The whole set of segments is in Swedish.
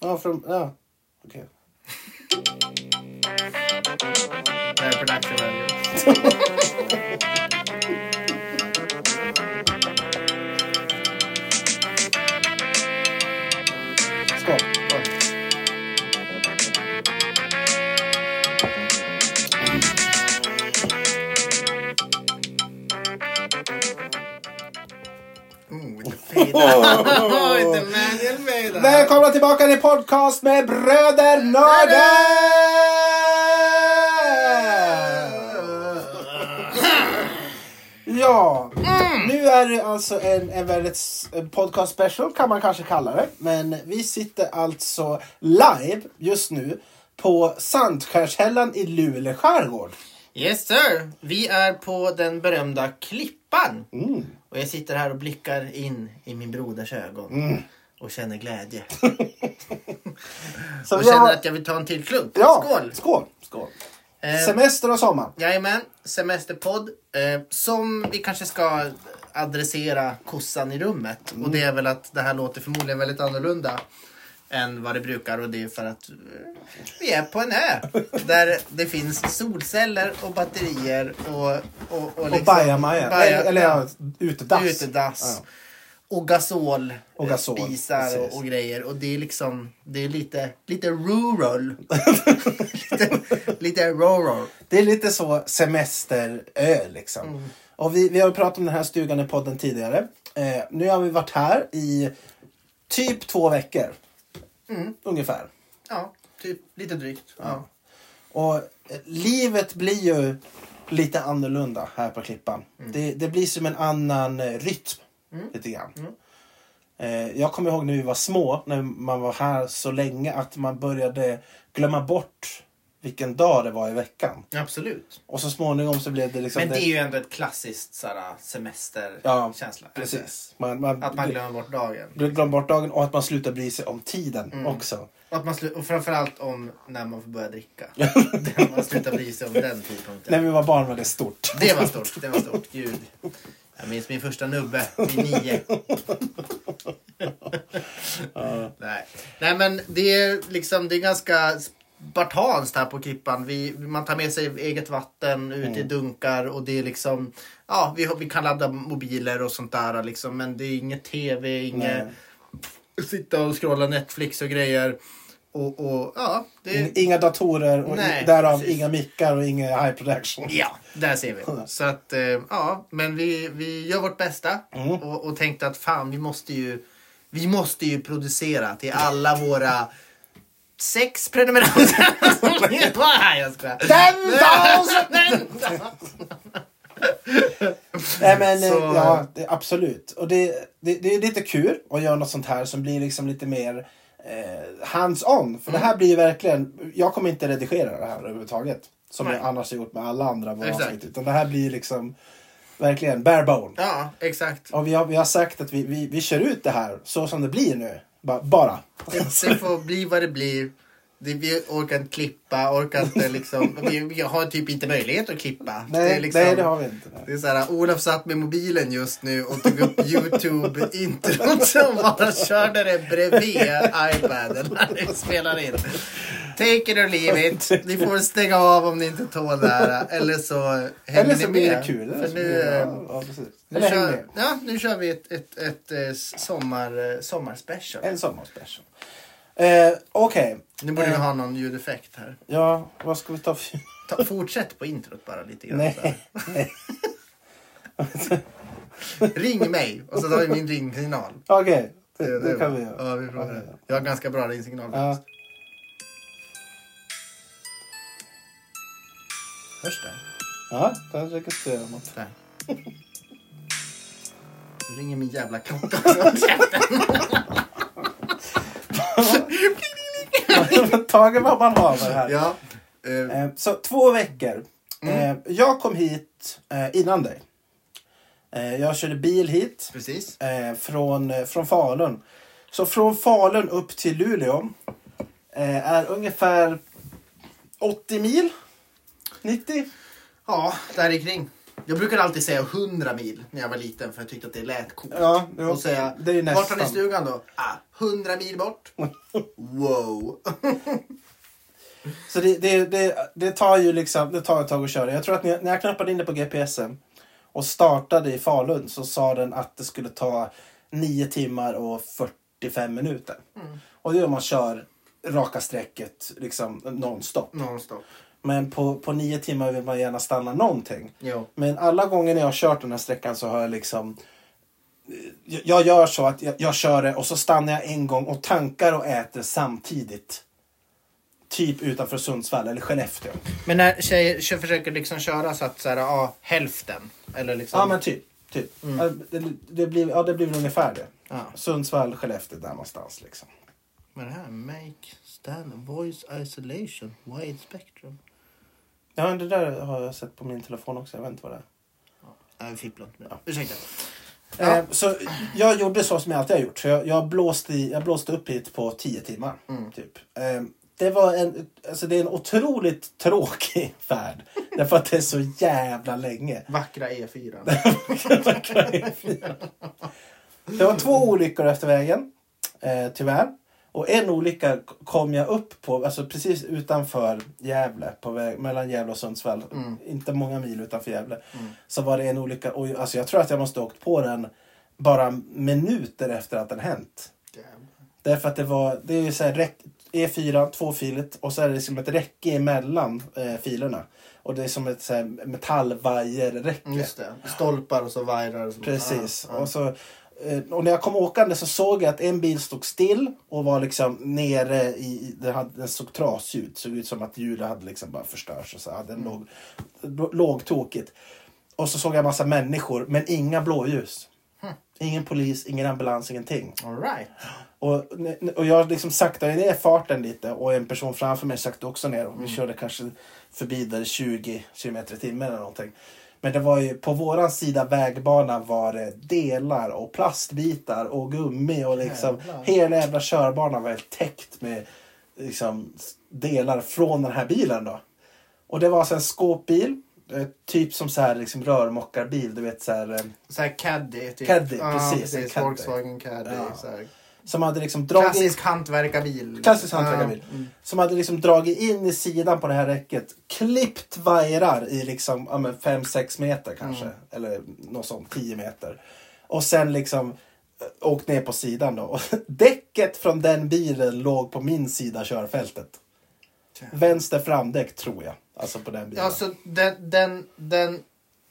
Ja, från... Ja, okej. Nej, production value. Skål. Oj. Oh, inte fina. Oh, inte Manuel Veda. Välkomna tillbaka till podcast med Bröder Nörden! Ja, Mm. nu är det alltså en, en väldigt s- en podcast special kan man kanske kalla det. Men vi sitter alltså live just nu på Sandskärshällan i Luleå skärgård. Yes sir! Vi är på den berömda klippan. Mm. Och jag sitter här och blickar in i min broders ögon. Och känner glädje. Så Och vi har- känner att jag vill ta en till klunk. ja, Skål! Skål! skål. Eh, Semester och sommar. Jajamän, semesterpodd. Eh, som vi kanske ska adressera kossan i rummet. Mm. Och det är väl att det här låter förmodligen väldigt annorlunda än vad det brukar. Och det är för att eh, vi är på en ö. där det finns solceller och batterier och... Och, och, Och liksom- bajamaja. baja- Eller, eller ja, utedass. utedass. Ja. Och gasol, Och eh, gasol, spisar och, precis. och grejer. Och det är liksom, det är lite, lite rural. lite, lite rural. Det är lite så semesterö liksom. Mm. Och vi, vi har ju pratat om den här stugan i podden tidigare. Eh, nu har vi varit här i typ två veckor. Mm. Ungefär. Ja, typ lite drygt. Ja. Och eh, livet blir ju lite annorlunda här på Klippan. Mm. Det, det blir som en annan eh, rytm. Lite grann. Mm. Eh, jag kommer ihåg när vi var små, när man var här så länge, att man började glömma bort vilken dag det var i veckan. Absolut. Och så småningom så blev det liksom... Men det är ju ändå ett klassiskt såhär, semesterkänsla. Ja, känsla Precis. Man, man, Att man glömmer bort dagen. glömmer bort dagen och att man slutar bry sig om tiden Mm. också. Och, att man slu- och framförallt om när man får börja dricka. man slutar bry sig om den tidpunkten. När vi var barn var det stort. Det var stort. Det var stort. Gud. Jag minns min första nubbe vid nio. Nej. Nej, men det är liksom det är ganska spartanskt här på Klippan. Vi, man tar med sig eget vatten ut i dunkar och det är liksom ja, vi, har- vi kan ladda mobiler och sånt där liksom, men det är inget tv, inget sitta och scrolla Netflix och grejer. Och, och ja, det In- Inga datorer och Nej, i, därav precis. inga mickar och inga high production. Ja, där ser vi. Så att, eh, ja, men vi, vi gör vårt bästa Mm. och, och tänkte att fan, vi måste ju, vi måste ju producera till alla våra sex prenumeranter. Nej, jag skojar. Den dagen! Nej men eh, Så- ja, det, absolut. Och det, det, det är lite kul att göra något sånt här som blir liksom lite mer eh, hands-on. För det Mm. här blir ju verkligen, jag kommer inte redigera det här överhuvudtaget. Som Nej. jag annars har gjort med alla andra våra Exakt. avsnitt. Utan det här blir verkligen, verkligen bare bone. Ja, exakt. Och vi har, vi har sagt att vi, vi, vi kör ut det här så som det blir nu. Ba, bara. Det får bli vad det blir. Det, vi orkar inte klippa, orkar inte liksom. Vi, vi har typ inte möjlighet att klippa. Nej, det är liksom, nej, det har vi inte. Det är så här, Olof satt med mobilen just nu och tog upp YouTube-introt som bara körde det bredvid iPaden när vi spelar in. Take it or leave it. Ni får stänga av om ni inte tål det här. Eller så hänger Eller så ni blir med. det kul. Eller För så nu, blir det, eh, ja, ja, precis. nu, Eller häng kör, med. ja, nu kör vi ett, ett, ett, eh, sommar, eh, sommarspecial. En sommarspecial. Eh, Okej. Nu borde vi Eh, ha någon ljudeffekt här. Ja, vad ska vi ta för... Ta, fortsätt på introt bara lite grann. så här. Nej. Ring mig och så tar vi min ringsignal. Okej. är Det, det kan bra. vi göra. Ja, vi provar det. Jag har ganska bra ringsignal. Ja. Hörs det? Ja, den registrerar man. Där. Nu ringer min jävla klocka också. Tagen vad man har med det här. ja. Mm. Eh, Eh, så två veckor. Eh, jag kom hit eh, innan dig. Eh, jag körde bil hit. precis. eh, från, eh, från Falun. Så från Falun upp till Luleå eh, är ungefär 80 mil. 90. Ja, där i kring. Jag brukade alltid säga 100 mil när jag var liten för jag tyckte att det lät coolt. Ja, jo, och säga, det är ju vart har ni nästan. stugan då? Ah, 100 mil bort. wow. Så det, det, det, det tar ju liksom, det tar ett tag att köra. Jag tror att när jag- när jag knappade in det på GPSen och startade i Falun så sa den att det skulle ta 9 timmar och 45 minuter. Och det är om man kör raka sträcket liksom nonstop. Nonstop. Men på, på 9 timmar vill man gärna stanna någonting. Jo. Men alla gånger när jag har kört den här sträckan så har jag liksom... Jag, jag gör så att jag, jag kör det och så stannar jag en gång och tankar och äter samtidigt. Typ utanför Sundsvall eller Skellefteå. Men när tjejer kö- försöker liksom köra så att så här, ja, hälften. Eller liksom. Ja men typ. typ. Ja, Det, det, blir, ja, det blir väl ungefär det. Mm. Ja. Sundsvall, Skellefteå, där någonstans liksom. Vad är det här? Make stand voice isolation wide spectrum. Ja, men det där har jag sett på min telefon också. Jag vet inte vad det är. Nej, fipplat nu. Ursäkta. Ja. Eh, så jag gjorde så som jag alltid har gjort. Så jag, jag, blåste, i, jag blåste upp hit på 10 timmar. Typ. Eh, det, var en, alltså det är en otroligt tråkig färd. därför att det är så jävla länge. Vackra E4. Det var två olyckor efter vägen, eh, tyvärr. Och en olycka k- kom jag upp på, alltså precis utanför Gävle, på väg, mellan Gävle och Sundsvall. Inte många mil utanför Gävle. Så var det en olycka, och alltså jag tror att jag måste ha åkt på den bara minuter efter att den hänt. Därför att det var, det är ju så här räck, E4, tvåfiligt och så är det som ett räcke emellan eh, filerna. Och det är som ett så här metallvajerräcke. Mm, Just Ah, det. Stolpar och så vajrar. och så- Precis. Ja, ja. Och, så, eh, och när jag kom åkande så såg jag att en bil stod still och var liksom nere i- i... Den, hade, den såg trasig ut. Såg ut som att hjulet hade liksom bara förstörts. Och så. Ja, Den låg, lå- låg tokigt. Och så såg jag en massa människor, men inga blåljus. Ingen polis, ingen ambulans, ingenting. All right. Och, och jag liksom saktade ner farten lite och en person framför mig saktade också ner. Och vi körde kanske förbi där 20 km i timmen eller någonting. Men det var ju, på våran sida vägbanan var det delar och plastbitar och gummi och liksom Jävlar. hela jävla körbanan var helt täckt med liksom delar från den här bilen då. Och det var alltså en skåpbil, eh, typ som så här liksom rörmokarbil, du vet så här. eh, Så här Caddy. Typ. Caddy, ja, precis, precis. en Caddy. Volkswagen Caddy. Ja. Så här. Som hade liksom dragit... Klassisk hantverkarbil. Klassisk hantverkarbil. Ja. Mm. Som hade liksom dragit in i sidan på det här räcket. Klippt vajrar i liksom 5-6 meter kanske. Mm. Eller något sånt, 10 meter. Och sen liksom eh, åkt ner på sidan då. Och däcket från den bilen låg på min sida körfältet. Vänster framdäck tror jag. Alltså på den bilen. Ja, så den, den, den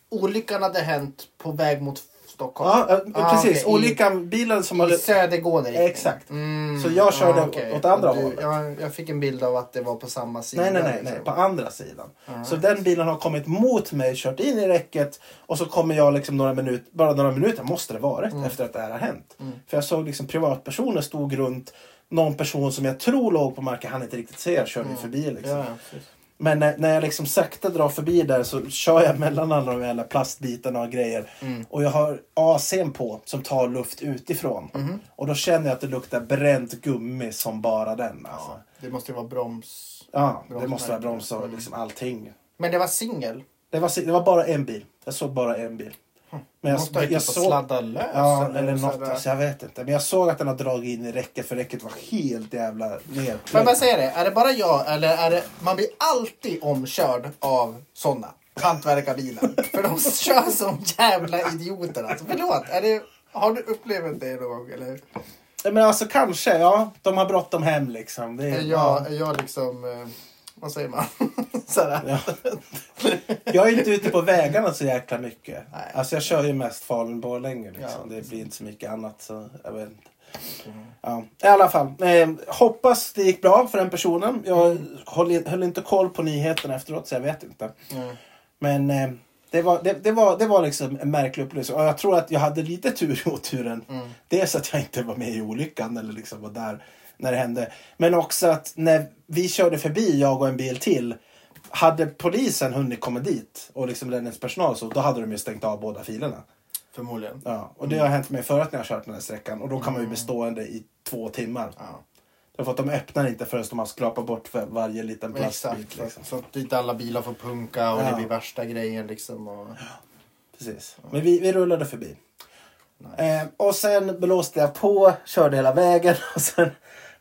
olyckan hade hänt på väg mot Stockholm. Ja, eh, Ah, precis. okej. I- Olyckan, bilen som I hade... södergående riktning. Exakt. Mm, Så jag körde ja, okej. åt andra Och du, hållet. Ja, jag fick en bild av att det var på samma sida. Nej, nej, nej, liksom. nej. På andra sidan. Så den bilen har kommit mot mig, kört in i räcket och så kommer jag liksom några minuter, bara några minuter måste det varit Mm. efter att det här har hänt. För jag såg liksom privatpersoner stod runt någon person som jag tror låg på marken, han inte riktigt ser, körde ju förbi liksom. Mm. Ja, ja, precis. Men när, när jag liksom sakta drar förbi där så kör jag mellan alla de jävla plastbitarna och grejer. Mm. Och jag har AC'n på som tar luft utifrån. Mm. Och då känner jag att det luktar bränt gummi som bara den. Alltså. Ja, det måste ju vara broms. Ja, det Bromsmärken. måste vara broms och Mm. liksom allting. Men det var singel. Det var, det var bara en bil. Jag såg bara en bil. Men Måste ha jag, jag typ såg... såg... sladda lös. Ja, eller så något. där. Alltså, jag vet inte. Men jag såg att den har dragit in i räcket för räcket var helt jävla ner. Får jag bara säga det? Är det bara jag eller är det... Man blir alltid omkörd av sådana. Hantverkarbilar. För de kör som jävla idioter alltså. Förlåt. Är det... Har du upplevt det någon gång eller? Nej, Men alltså kanske, ja. De har bråttom hem liksom. Det Är är, jag, är jag liksom... eh, Vad säger man? Sådär. Ja. Jag är inte ute på vägarna så jäkla mycket. Nej. Alltså jag kör ju mest Falun-Borlänge. Liksom. Ja. det blir inte så mycket annat. Så jag vet inte. Ja. I alla fall. Eh, hoppas det gick bra för den personen. Jag höll, in- höll inte koll på nyheterna efteråt så jag vet inte. Mm. Men eh, det, var, det, det, var, det var liksom en märklig upplevelse. Och jag tror att jag hade lite tur i oturen. Dels att jag inte var med i olyckan eller liksom var där när det hände. Men också att när vi körde förbi, jag och en bil till. Hade polisen hunnit komma dit och liksom räddningspersonal så då hade de ju stängt av båda filerna. Förmodligen. Ja, och det har hänt mig förut när jag har kört den här sträckan och då kan man ju bli stående i två timmar. Ja. Därför att de öppnar inte förrän de har skrapat bort för varje liten Exakt. plastbit. så- Liksom. Så att inte alla bilar får punka och Ja. det blir värsta grejen liksom. Och... Precis. Men vi, vi rullade förbi. Eh, och sen blåste jag på, körde hela vägen. Och sen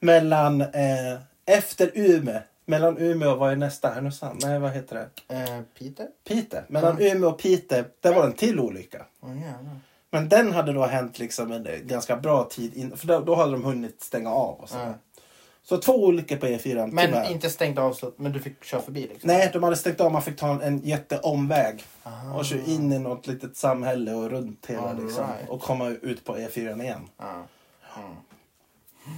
mellan... Eh, efter Umeå. Mellan Umeå och vad är nästa? Härnösand? Nej, vad heter det? Eh, Peter? Piteå. Mellan Umeå och Piteå, där var det en till olycka. Åh jävlar. Men den hade då hänt liksom en eh, ganska bra tid in, För då, då hade de hunnit stänga av och så. Ja. Så två olyckor på E4. Men tyvärr. inte stängt av så men du fick köra förbi liksom? Typ. Nej, de hade stängt av. Man fick ta en, en jätteomväg. Och kör in i något litet samhälle och runt hela All liksom. right. Och komma ut på E4 igen. Ja. Ja,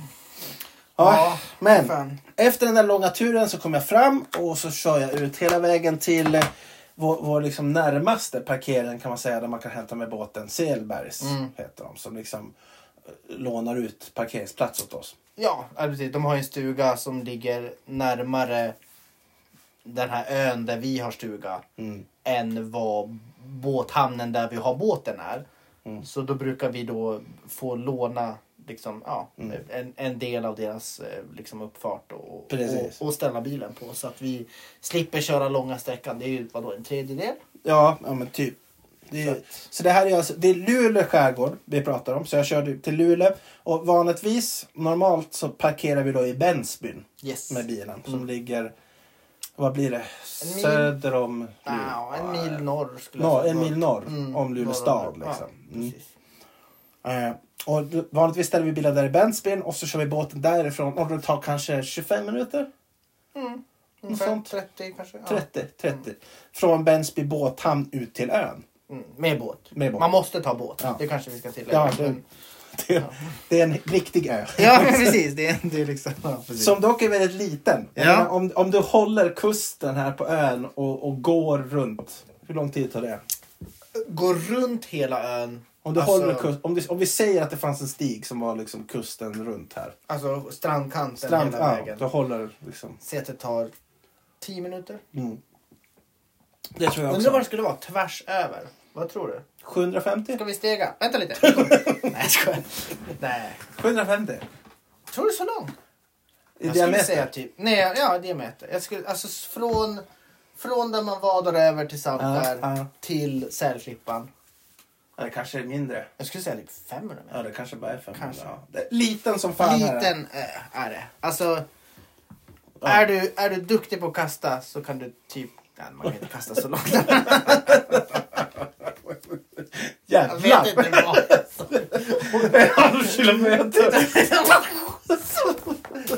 Ja, men fan. efter den där långa turen så kom jag fram och så kör jag ut hela vägen till eh, vår, vår liksom närmaste parkering kan man säga där man kan hämta med båten. Selbergs Mm. heter de som liksom eh, lånar ut parkeringsplats åt oss. Ja, ja, precis. De har ju en stuga som ligger närmare den här ön där vi har stuga Mm. än vad båthamnen där vi har båten är. Mm. Så då brukar vi då få låna liksom, ja, Mm. en, en del av deras eh, liksom, uppfart och, Precis. och, och ställa bilen på. Så att vi slipper köra långa sträckan. Det är ju vadå, en tredjedel? Ja, ja men typ. Det är, så det här är alltså, det är Luleå skärgård vi pratar om. Så jag körde till Luleå. Och vanligtvis, normalt så parkerar vi då i Bensbyn Yes. Mm. med bilen. Som ligger, vad blir det? En mil- Söder om Luleå. Ja, en mil norr skulle Nå- jag säga. Mm. Mm. en mil norr om Luleå norr stad, norr. liksom. Ja, Mm. precis. Eh, och d- vanligtvis ställer vi bilen där i Bensbyn och så kör vi båten därifrån. Och det tar kanske 25 minuter? Ungefär sånt. 30 kanske? Ja. 30? 30. Från Bensby båthamn ut till ön. Mm, med, båt. Med båt. Man måste ta båt. Ja. Det kanske vi ska tillägga. Ja, det, Men- det, det är en riktig ö. ja precis. Det, är- det är liksom... Ja, precis. Som dock är väldigt liten. Jag Ja. menar, Om, om du håller kusten här på ön och, och går runt. Hur lång tid tar det? Gå runt hela ön. Om, du Alltså- håller kust, om, du, om vi säger att det fanns en stig som var liksom kusten runt här. Alltså strandkanten Strand, hela ja, vägen. du håller liksom. Se att det tar 10 minuter. Mm. Det tror jag Undrar vad det också. skulle vara tvärs över. Vad tror du? 750? Ska vi stega? Vänta lite. Nej, jag skojar. Nej. 750 Tror du så långt? i jag diameter. skulle säga typ, nej, ja diameter. Jag skulle, alltså s- från, från där man vadar över till Saltberg Ja, ja. till Sälklippan. Ja, det kanske är mindre. Jag skulle säga typ 500 meter. Ja, det kanske bara är 500. Kanske. Ja. Det är liten som fan. är det. Liten eh, är det. Alltså, är, du, är du duktig på att kasta så kan du typ, nej man kan inte kasta så långt. Jag vet Jävlar! inte vad. En halv kilometer!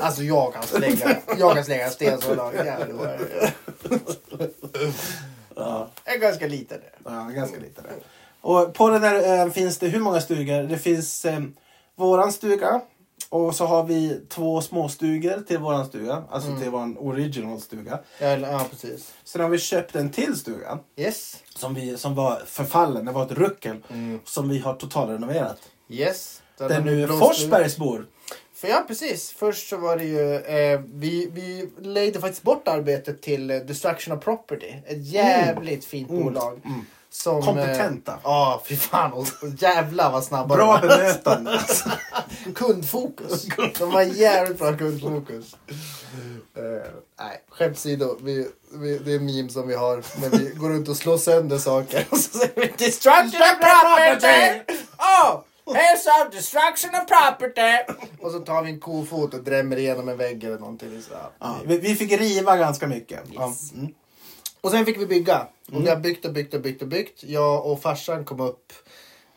Alltså jag kan slänga, jag kan slänga sten så långt. Jävlar. Ja. Jag är ganska liten. Ja, ganska lite där. Och på den här ön finns det hur många stugor? Det finns eh, våran stuga och så har vi två småstugor till våran stuga. Alltså till våran original stuga. Ja, eller- ja precis. Sen har vi köpt en till stuga Yes. som, vi, som var förfallen, det var ett ruckel, som vi har totalrenoverat. Yes. Där Där har nu blåst ut. Forsbergs bor. För ja, precis. Först så var det ju... Eh, vi, vi lejde faktiskt bort arbetet till eh, Destruction of Property. Ett jävligt fint bolag. Som, Kompetenta. eh, Ja, fy fan. Och, och jävlar vad snabba Bra de var. bemötande. Alltså. Kundfokus. De har jävligt bra kundfokus. Eh, nej, skämt åsido. Vi, vi, det är en meme som vi har när vi går runt och slår sönder saker. Och så säger vi Destruction of property! Oh! Here's our destruction of property! Och så tar vi en kofot och drämmer igenom en vägg eller någonting. Så. här. ja, vi, vi fick riva ganska mycket. Ja. Mm. Och sen fick vi bygga. Och vi har byggt och byggt och byggt och byggt. Jag och farsan kom upp,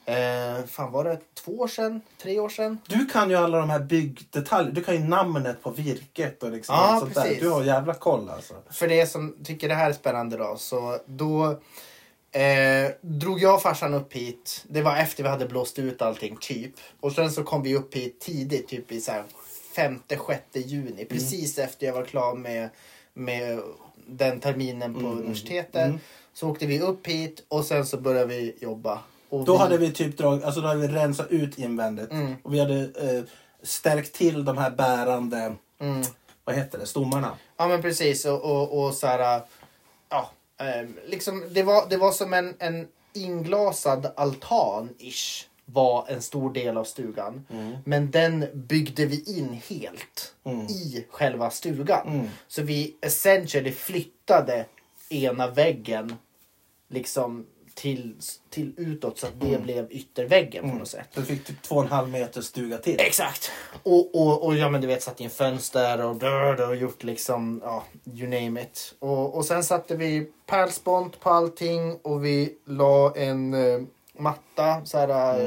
eh, fan var det två år sedan? Tre år sedan? Du kan ju alla de här byggdetaljerna. Du kan ju namnet på virket och liksom Ja, allt sånt där. precis. Du har jävla koll alltså. för det som tycker det här är spännande då, så då eh, drog jag och farsan upp hit. Det var efter vi hade blåst ut allting, typ. Och sen så kom vi upp hit tidigt, typ i så här 5 sjätte Mm. juni. Precis efter jag var klar med, med den terminen på Mm, universitetet. Så åkte vi upp hit och sen så började vi jobba. Och Då hade vi typ drag, alltså då hade vi rensat ut invändigt. Mm. Och vi hade eh, stärkt till de här bärande, Mm. vad heter det, stommarna. Ja men precis och, och, och så här, ja, ehm, liksom det var, det var som en, en inglasad altan-ish var en stor del av stugan. Men den byggde vi in helt i själva stugan. Så vi essentially flyttade ena väggen liksom till, till utåt så att det blev ytterväggen på något sätt. Du fick typ två och en halv meter stuga till. Exakt! Och, och, och ja, men du vet, satt i en fönster och, brr, och gjort liksom, ja, you name it. Och, och sen satte vi pärlspont på allting och vi la en eh, matta, så här, eh,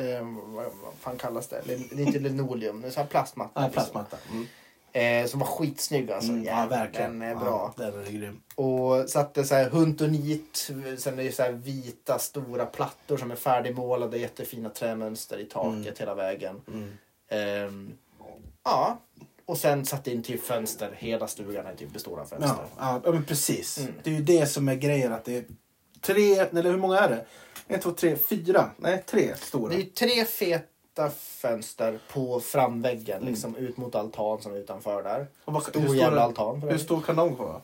Mm. eh, vad, vad fan kallas det? Lin- Det är inte linoleum, det är så här plastmatta. Ja, liksom. plastmatta. Mm. Eh, som var skitsnygg alltså. Mm, ja, verkligen. Den är bra. Ja, den är grym. Och satte så här huntonit, sen är det så här vita stora plattor som är färdigmålade, jättefina trämönster i taket Mm. hela vägen. Ehm, ja, och sen satte in typ fönster, hela stugan är typ består av fönster. Ja, ja, ja, men precis. Mm. Det är ju det som är grejen. Att det är tre, eller hur många är det? En, två, tre, fyra. Nej, tre stora. Det är ju tre feta fönster på framväggen, liksom ut mot altan som är utanför där. Och vad- Mm. hur Stor stor jävla är- altan. för Hur övrigt. stor kan de vara?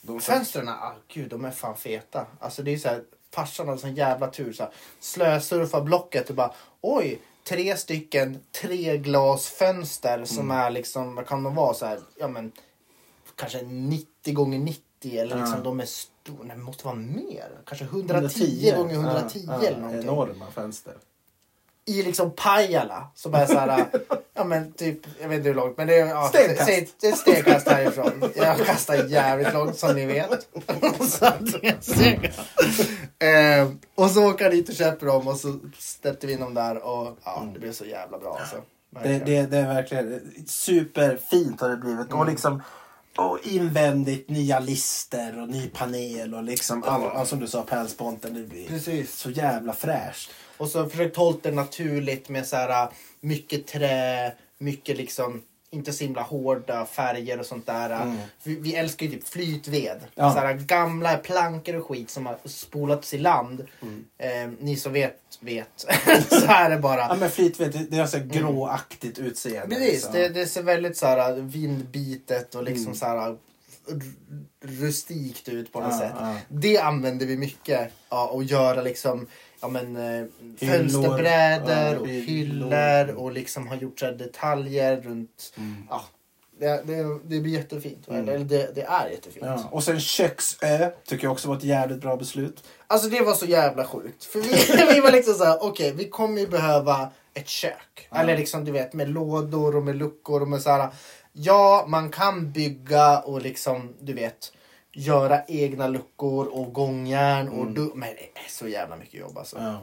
De Fönstren, ah, gud de är fan feta. Alltså det är så här, farsan hade sån jävla tur. Så här, slösurfa blocket och bara oj, tre stycken treglasfönster som Mm. är liksom, vad kan de vara så här, ja men kanske 90 gånger 90 eller liksom Ja. de är stora, nej det måste vara mer. Kanske 110 110 gånger 110 eller någonting Enorma fönster. i liksom Pajala. Som är så här, äh, ja men typ, jag vet inte hur långt, men det är, ja, Stenkast. se- se- det är stenkast härifrån. Jag kastar jävligt långt som ni vet. så att det är stenkast. eh, och så åker jag dit och köper dem och så släppte vi in dem där och ja, det blev så jävla bra alltså. Det, Verkligen. det, det är verkligen superfint har det blivit. Mm. Och liksom och invändigt nya lister och ny panel och liksom all, all, som du sa pärlsponten. Det blir Precis. så jävla fräscht. Och så försökt hålla det naturligt med så här äh, mycket trä, mycket liksom inte så himla hårda färger och sånt där. Vi, vi älskar ju typ flytved. Mm. Ja. Så här, gamla plankor och skit som har spolats i land. Mm. Eh, ni som vet, vet. så här är det bara. Ja men flytved, det, det har så här gråaktigt utseende. Precis, liksom. Mm. Mm. det, det ser väldigt så här äh, vindbitet och liksom så här r- rustikt ut på något Ja, sätt. ja. Det använder vi mycket. Ja, och göra liksom ja, men, eh, Hyllor, fönsterbrädor ja, och hyllor. hyllor och liksom har gjort så här detaljer runt. Mm. Ja, det, det, det blir jättefint. Eller det, det är jättefint. Ja. Och sen köksö tycker jag också var ett jävligt bra beslut. Alltså det var så jävla sjukt. För vi, vi var liksom så här, okej vi kommer ju behöva ett kök. Eller liksom du vet med lådor och med luckor och med så här. Ja, man kan bygga och liksom du vet göra egna luckor och gångjärn och du, men det är så jävla mycket jobb alltså.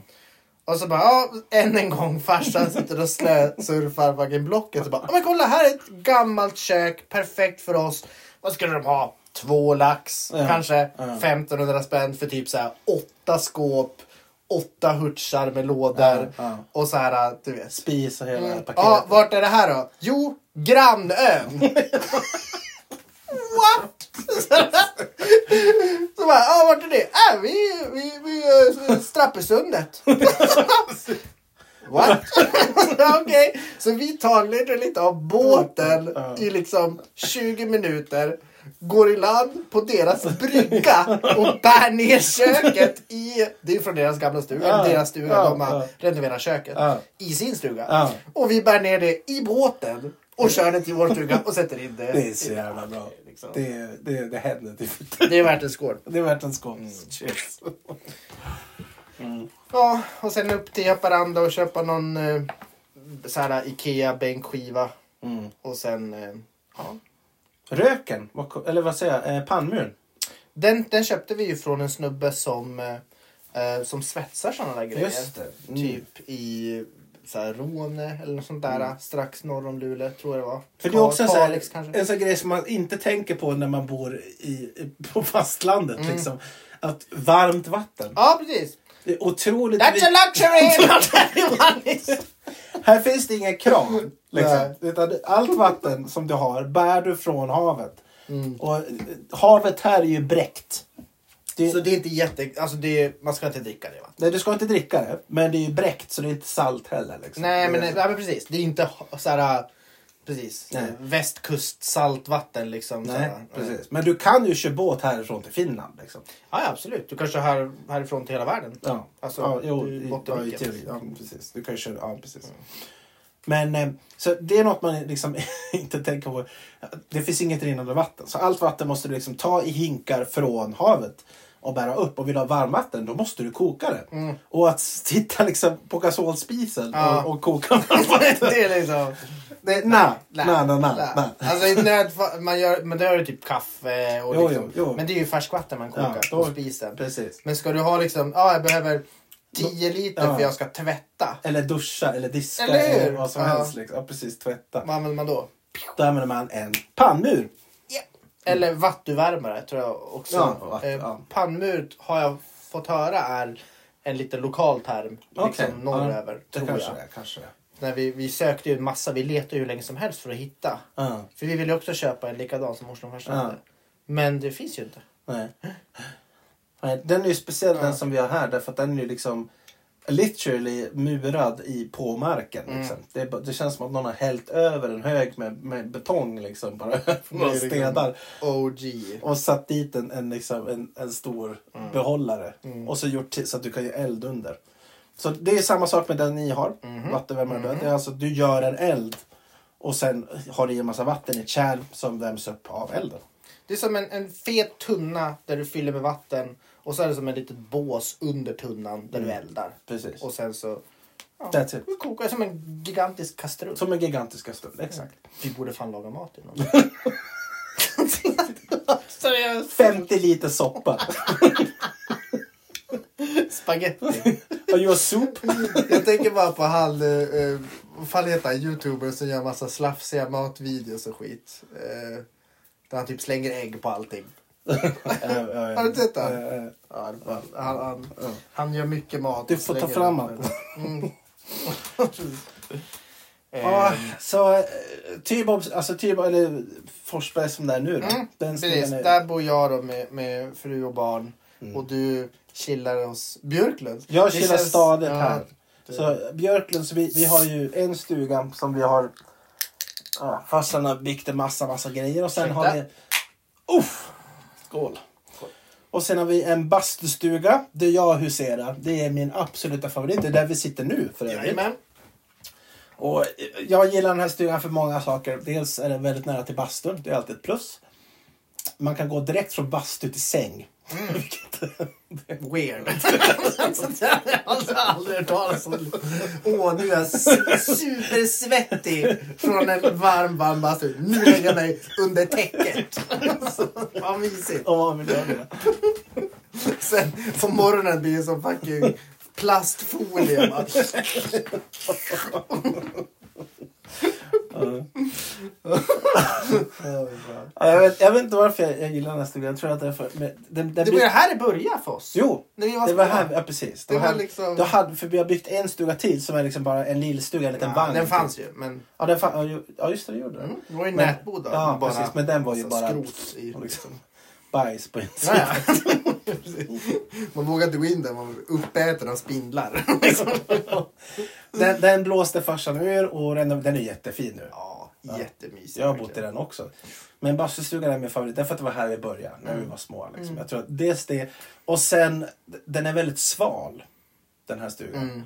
Och så bara, ja, än en gång farsan sitter och slösurfar fucking blocket. Så bara, ja, men kolla här är ett gammalt kök, perfekt för oss. Vad skulle de ha? Två lax, Ja, kanske ja. 1500 spänn för typ så här åtta skåp, åtta hurtsar med lådor Ja, ja. och så här, du vet. Spis och hela Mm. paketet. Ja, vart är det här då? Jo, grannön. What? Så bara, ja vart är det? Äh, vi, vi, vi eh, Strappesundet. What? Okej, så vi tar lite av båten i liksom 20 minuter. Går i land på deras brygga och bär ner köket i... Det är från deras gamla stuga. Ja, deras stuga, ja, de har ja. renoverat köket Ja. i sin stuga. Ja. Och vi bär ner det i båten och kör det till vår stuga och sätter in det. Det är så jävla bra. Liksom. Det... Det, det, det händer typ inte. är värt en skål. Det är värt en skål. Mm. Cheers. Ja, och sen upp till Haparanda och köpa någon eh, så här Ikea-bänkskiva. Mm. Och sen... Eh, ja. Röken, vad ko- eller vad säger jag, eh, pannmuren. den, den köpte vi ju från en snubbe som, eh, eh, som svetsar sådana där grejer. Just det. Mm. Typ i så här, Råne eller något sånt där. Strax norr om Luleå tror jag det var. Mm. För det är också en sån, här, Kalix kanske. en sån grej som man inte tänker på när man bor i, på fastlandet. Mm. Liksom. Att varmt vatten. Ja, precis. Det är otroligt That's a viktigt. luxury! not everyone is- Här finns det inga krav. Liksom. Nej. Utan allt vatten som du har bär du från havet. Mm. Och eh, havet här är ju bräckt. Det, Så det är inte jätte... Alltså det är, man ska inte dricka det va? nej, du ska inte dricka det, men det är ju bräckt så det är inte salt heller. Liksom. Nej men, Det är- ja, men precis. Det är inte ha- så här... Precis. Nej. Västkust saltvatten liksom. så Nej, här. precis. Men du kan ju köra båt härifrån till Finland. Liksom. Ja, ja absolut. Du kanske här, härifrån till hela världen. Ja, Alltså, ja, jo, du- i, ja, i Bottenviken. teori. Ja, precis. Du kan ju köra, ja, precis. Mm. Men eh, så det är något man liksom inte tänker på. Det finns inget rinnande vatten. Så allt vatten måste du liksom ta i hinkar från havet. och bära upp och vill ha varmvatten, då måste du koka det. Och att sitta liksom på gasolspisen Mm. Ja. och, och koka varmvatten. Alltså, det är liksom... Det- Nej, Nej. nej, nej, nej. nej. Alltså, i nödfall- man, gör, man gör ju typ kaffe och Jo, liksom, jo, jo. Men det är ju färskvatten man kokar Ja, på då- spisen. Precis. Men ska du ha liksom, ja jag behöver 10 liter Ja. för jag ska tvätta. Eller duscha eller diska Eller hur? eller, vad som Ja. helst. Liksom. Ja, precis, tvätta. Vad använder man då? Då använder man en pannmur. Eller vattenvärmare tror jag också. Ja, vatt- eh, ja. Pannmur har jag fått höra är en liten lokal term. Okej, Liksom norröver, det tror kanske jag. det är, kanske det är. När vi, vi sökte ju en massa, vi letade ju hur länge som helst för att hitta. Ja, För vi ville ju också köpa en likadan som morsan och farsan hade. Ja. Men det finns ju inte. nej. Nej, Den är ju speciell den som vi har här därför att den är ju liksom literally murad i på marken. Mm. Liksom. Det, är bara- det känns som att någon har hällt över en hög med, med betong liksom bara över några Det är liksom- stenar. OG. Och satt dit en, en, liksom, en, en stor Mm. behållare. Och så gjort till, så att du kan göra eld under. Så det är samma sak med den ni har. Mhm. Vattenvärmare mm. Det är alltså du gör en eld. Och sen har du i en massa vatten i ett kärl som värms upp av elden. Det är som en, en fet tunna där du fyller med vatten. Och så är det som en litet bås under tunnan där du eldar. Mm. Precis. Och sen så... Ja, That's it. det kokar som en gigantisk kastrull. Som en gigantisk kastrull. Exakt. Vi borde fan laga mat i någon. Seriöst. 50 liter soppa. Spagetti. Och your soup. Jag tänker bara på han, eh, eh, vad fan heter han, youtuber som gör massa slafsiga matvideos och skit. Eh, där han typ slänger ägg på allting. Har du inte sett den? den? Ja, det var, han, han, han gör mycket mat. eh, Du och får ta slänger fram allt. allt. Mm. Ja, Eh, så eh, Tybobs, alltså Tybob, eller Forsberg som det är nu då. Mm, Den Precis, stilen är- där bor jag då med, med fru och barn. Mm. Och du chillar hos Björklund. Jag Det chillar känns- stadigt ja, här. det- Så Björklund, så vi, vi har ju en stuga som vi har... Ja, farsan har byggt en massa, massa grejer och sen har vi... Ursäkta. Uff! Skål! Och sen har vi en bastustuga där jag huserar. Det är min absoluta favorit. Det är där vi sitter nu för övrigt. Jajamän. Och eh, jag gillar den här stugan för många saker. Dels är den väldigt nära till bastun. Det är alltid ett plus. Man kan gå direkt från bastu till säng. Weird. Sånt där har jag alltså aldrig hört talas om. Åh, nu är jag su- supersvettig från en varm, varm bastu. Nu lägger jag mig under täcket. Vad mysigt. Om man vill göra det. Sen på morgonen blir det som fucking plastfolie. bara. Ja, Jag vet, jag vet inte varför jag, jag gillar den här stugan. Jag tror att det är för... Men den, den Det var ju här det började för oss. Jo, När vi var det var små. här, ja, precis. Det Det var var här, liksom- då hade, för vi har byggt en stuga till som är liksom bara en lillstuga, en liten Ja, vagn. typ. Den fanns ju, men Ja, den fan, ja, ju- ja, just det, det gjorde den. mm, det var ju Men- nätboda. Ja, bara- precis. Men den var ju så bara Skrot i. liksom, bajs på insidan. Ja, ja. man vågade inte gå in där, man var uppäten av spindlar. Den, den blåste farsan ur och den, den är jättefin nu. ja, jättemysigt. Jag har bott i verkligen. den också. Men bastustugan är min favorit därför att det var här vi började när Mm. vi var små. Liksom. Jag tror att dels det och sen den är väldigt sval den här stugan. Mm.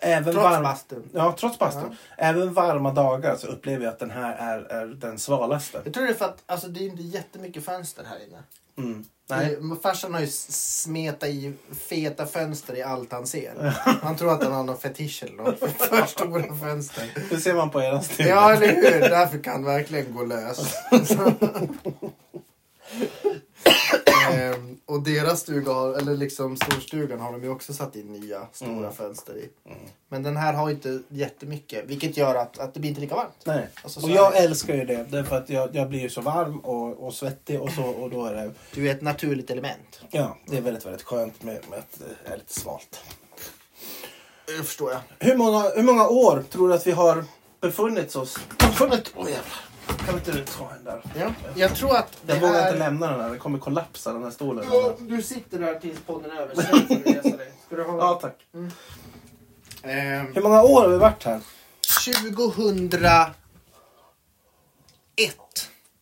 Även Trots varm- bastun. Ja, trots bastun. Även varma dagar så upplever jag att den här är, är den svalaste. Jag tror det är för att alltså, det är inte jättemycket fönster här inne. Mm. Nej. Det- Farsan har ju s- smetat i feta fönster i allt han ser. Han tror att han har någon fetisch eller något. För stora fönster. Det ser man på eran stuga. Mm. Ja, eller hur? Därför kan verkligen gå lös. Ehm, och deras stuga, har, eller liksom storstugan, har de ju också satt in nya stora Mm. fönster i. Men den här har ju inte jättemycket, vilket gör att, att det blir inte lika varmt. Nej. Alltså, så och är jag det. älskar ju det därför att jag, jag blir ju så varm och, och svettig och så och då är det, Du är ett naturligt element. ja, det är väldigt, väldigt skönt med, med att det är lite svalt. Det förstår jag. Hur många, hur många år tror du att vi har befunnit oss? Befunnit... Åh jävlar. Kan inte du ta en där? Ja. Jag tror att det Jag vågar här... inte lämna den här. Den kommer kollapsa den här stolen. Ja, du sitter där tills podden är över. Sen får du resa dig. Ska du Ja, ha... tack. Ehm, Hur många år har vi varit här? 2001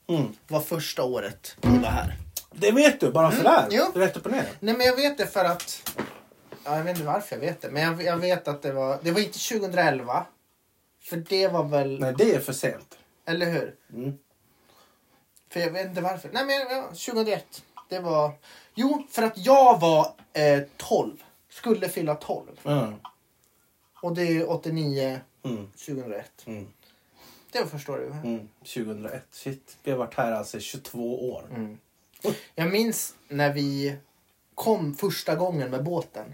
Mm. var första året vi var här. Det vet du, bara sådär. Mm, jo. Rätt upp och ner. Nej men jag vet det för att... Ja, jag vet inte varför jag vet det. Men jag, jag vet att det var... Det var inte 2011. För det var väl... Nej, det är för sent. Eller hur? Mm. För jag vet inte varför. Nej men ja, 2001. det var... Jo, för att jag var eh, 12. Skulle fylla 12. Mm. Och det är 89, Mm. 2001. Mm. Det förstår du. Mm. 2001. Shit, vi har varit här alltså i 22 år. Mm. Jag minns när vi kom första gången med båten